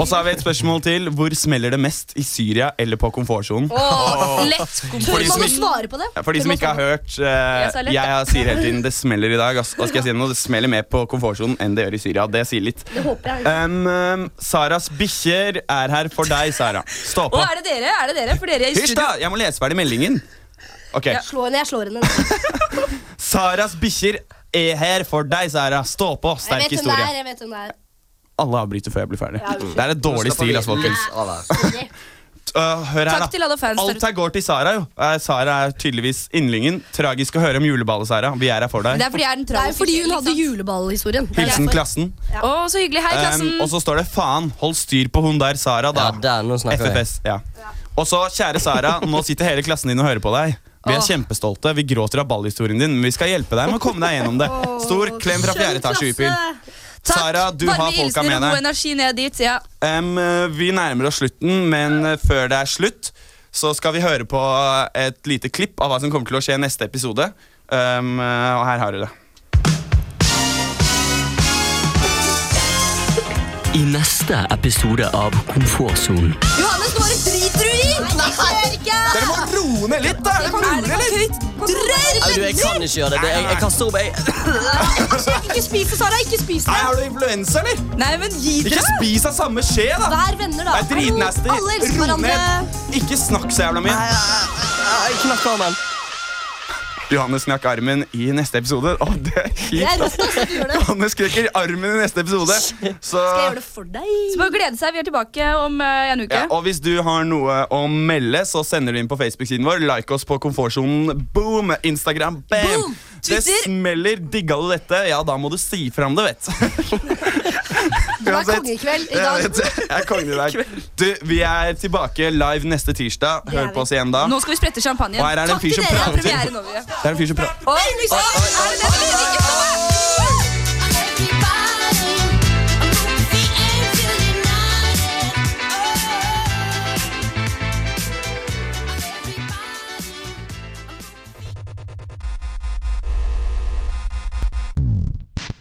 Speaker 3: *laughs* Og så har vi et spørsmål til. Hvor smeller det mest? I Syria eller på Komfortsonen?
Speaker 1: Å, lett
Speaker 3: For
Speaker 4: Tør
Speaker 3: de som
Speaker 4: man å
Speaker 3: ikke-
Speaker 4: svare på det?
Speaker 3: Ja, For de som ikke har hørt, eh,
Speaker 4: Jeg sa lett,
Speaker 3: jeg
Speaker 4: da.
Speaker 3: sier hele tiden det smeller i dag. ass. Da skal jeg si noe, Det smeller mer på komfortsonen enn det gjør i Syria. Det sier litt.
Speaker 4: Det håper jeg.
Speaker 3: Um, um, Saras bikkjer er her for deg, Sara. Stå
Speaker 1: Å,
Speaker 3: på.
Speaker 1: er det dere? Er det dere? For dere er i
Speaker 3: Hysj,
Speaker 1: studio.
Speaker 3: da! Jeg må lese ferdig meldingen. Ok.
Speaker 4: Ja. Slå henne, jeg slår henne.
Speaker 3: Saras bikkjer er her for deg, Sara. Stå på. Sterk
Speaker 4: jeg vet hvem det er.
Speaker 3: historie.
Speaker 4: jeg vet hvem det er.
Speaker 3: Alle avbryter før jeg blir ferdig.
Speaker 4: Ja,
Speaker 3: Det er et dårlig stil, ass, folkens.
Speaker 4: Sorry.
Speaker 3: Uh, hør her,
Speaker 1: Takk til alle
Speaker 3: da.
Speaker 1: fans der
Speaker 3: Alt her går til Sara, jo. Eh, Sara er tydeligvis yndlingen. Tragisk å høre om juleballet, Sara. Vi er her for deg.
Speaker 1: Det er fordi jeg er den
Speaker 4: Det er jo
Speaker 1: tragiske.
Speaker 4: fordi hun hadde juleballhistorien. Det er
Speaker 3: Hilsen
Speaker 4: derfor.
Speaker 3: klassen.
Speaker 1: Å, så hyggelig. Hei, klassen.
Speaker 3: Um, og så står det 'faen, hold styr på hun der, Sara', da.
Speaker 2: snakker vi.
Speaker 3: FFS. Ja. Og så, kjære Sara, nå sitter hele klassen din og hører på deg. Vi er kjempestolte. Vi gråter av ballhistorien din, men vi skal hjelpe deg med å komme deg gjennom det. Stor klem fra fjerde etasje, Upil. Sara, du har folka med
Speaker 1: og god
Speaker 3: deg.
Speaker 1: energi ned dit. Ja.
Speaker 3: Um, vi nærmer oss slutten, men uh, før det er slutt, så skal vi høre på uh, et lite klipp av hva som kommer til å skje i neste episode. Um, uh, og her har du det.
Speaker 17: I neste episode av Komfortsonen.
Speaker 4: Johannes, nå bare driter du i! Nei, det gjør jeg ikke!
Speaker 3: Dere må roe ned litt, da! Dere må roe ned litt!
Speaker 4: Drøy,
Speaker 2: Au, du, jeg kan ikke gjøre det. det jeg, jeg kaster opp. Jeg.
Speaker 4: Ikke spis det, Sara. Ikke spis det.
Speaker 3: Nei, har du influensa, eller?
Speaker 1: Nei, men gi
Speaker 3: Ikke spis av samme skje, da!
Speaker 4: Vær venner, da.
Speaker 3: Det er dritnasty.
Speaker 4: Hallo, Alle elsker
Speaker 3: Ro
Speaker 4: hverandre.
Speaker 3: ned. Ikke snakk så jævla mye.
Speaker 2: Knakk armen.
Speaker 3: Johannes knakk armen i neste episode. Å, det er
Speaker 4: Det er
Speaker 3: kjipt.
Speaker 4: rått, altså. Du gjør det.
Speaker 3: Johannes krekker armen i neste episode. Så,
Speaker 4: Skal jeg gjøre det for deg?
Speaker 1: Så bare glede seg. Vi er tilbake om eh, en uke.
Speaker 3: ja, og hvis du har noe å melde, så sender du inn på Facebook-siden vår. Like oss på Komfortsonen. Boom! Instagram. Bam! Det smeller. Digga du dette? Ja, da må du si fram det, vet
Speaker 4: Du er konge i kveld.
Speaker 3: *laughs*
Speaker 4: I
Speaker 3: Jeg
Speaker 4: dag.
Speaker 3: vet det. Jeg er kongen i dag. Du, vi er tilbake live neste tirsdag.
Speaker 1: er
Speaker 3: Hør
Speaker 1: vi.
Speaker 3: på oss igjen da.
Speaker 1: Nå skal vi sprette champagnen.
Speaker 3: Og her er det en fyr som
Speaker 1: Det
Speaker 3: prater.
Speaker 1: er premiere nå. vi.
Speaker 3: Det er en fyr som prater.
Speaker 1: Oi, oi, oi, er det det? Ikke stopp meg!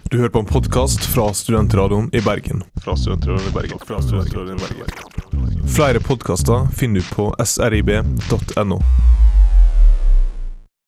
Speaker 18: Du hører på en podkast fra Studentradioen i Bergen. Fra Studentradioen i Bergen. Fra Studentradioen i Bergen. Flere podkaster finner du på srib.no.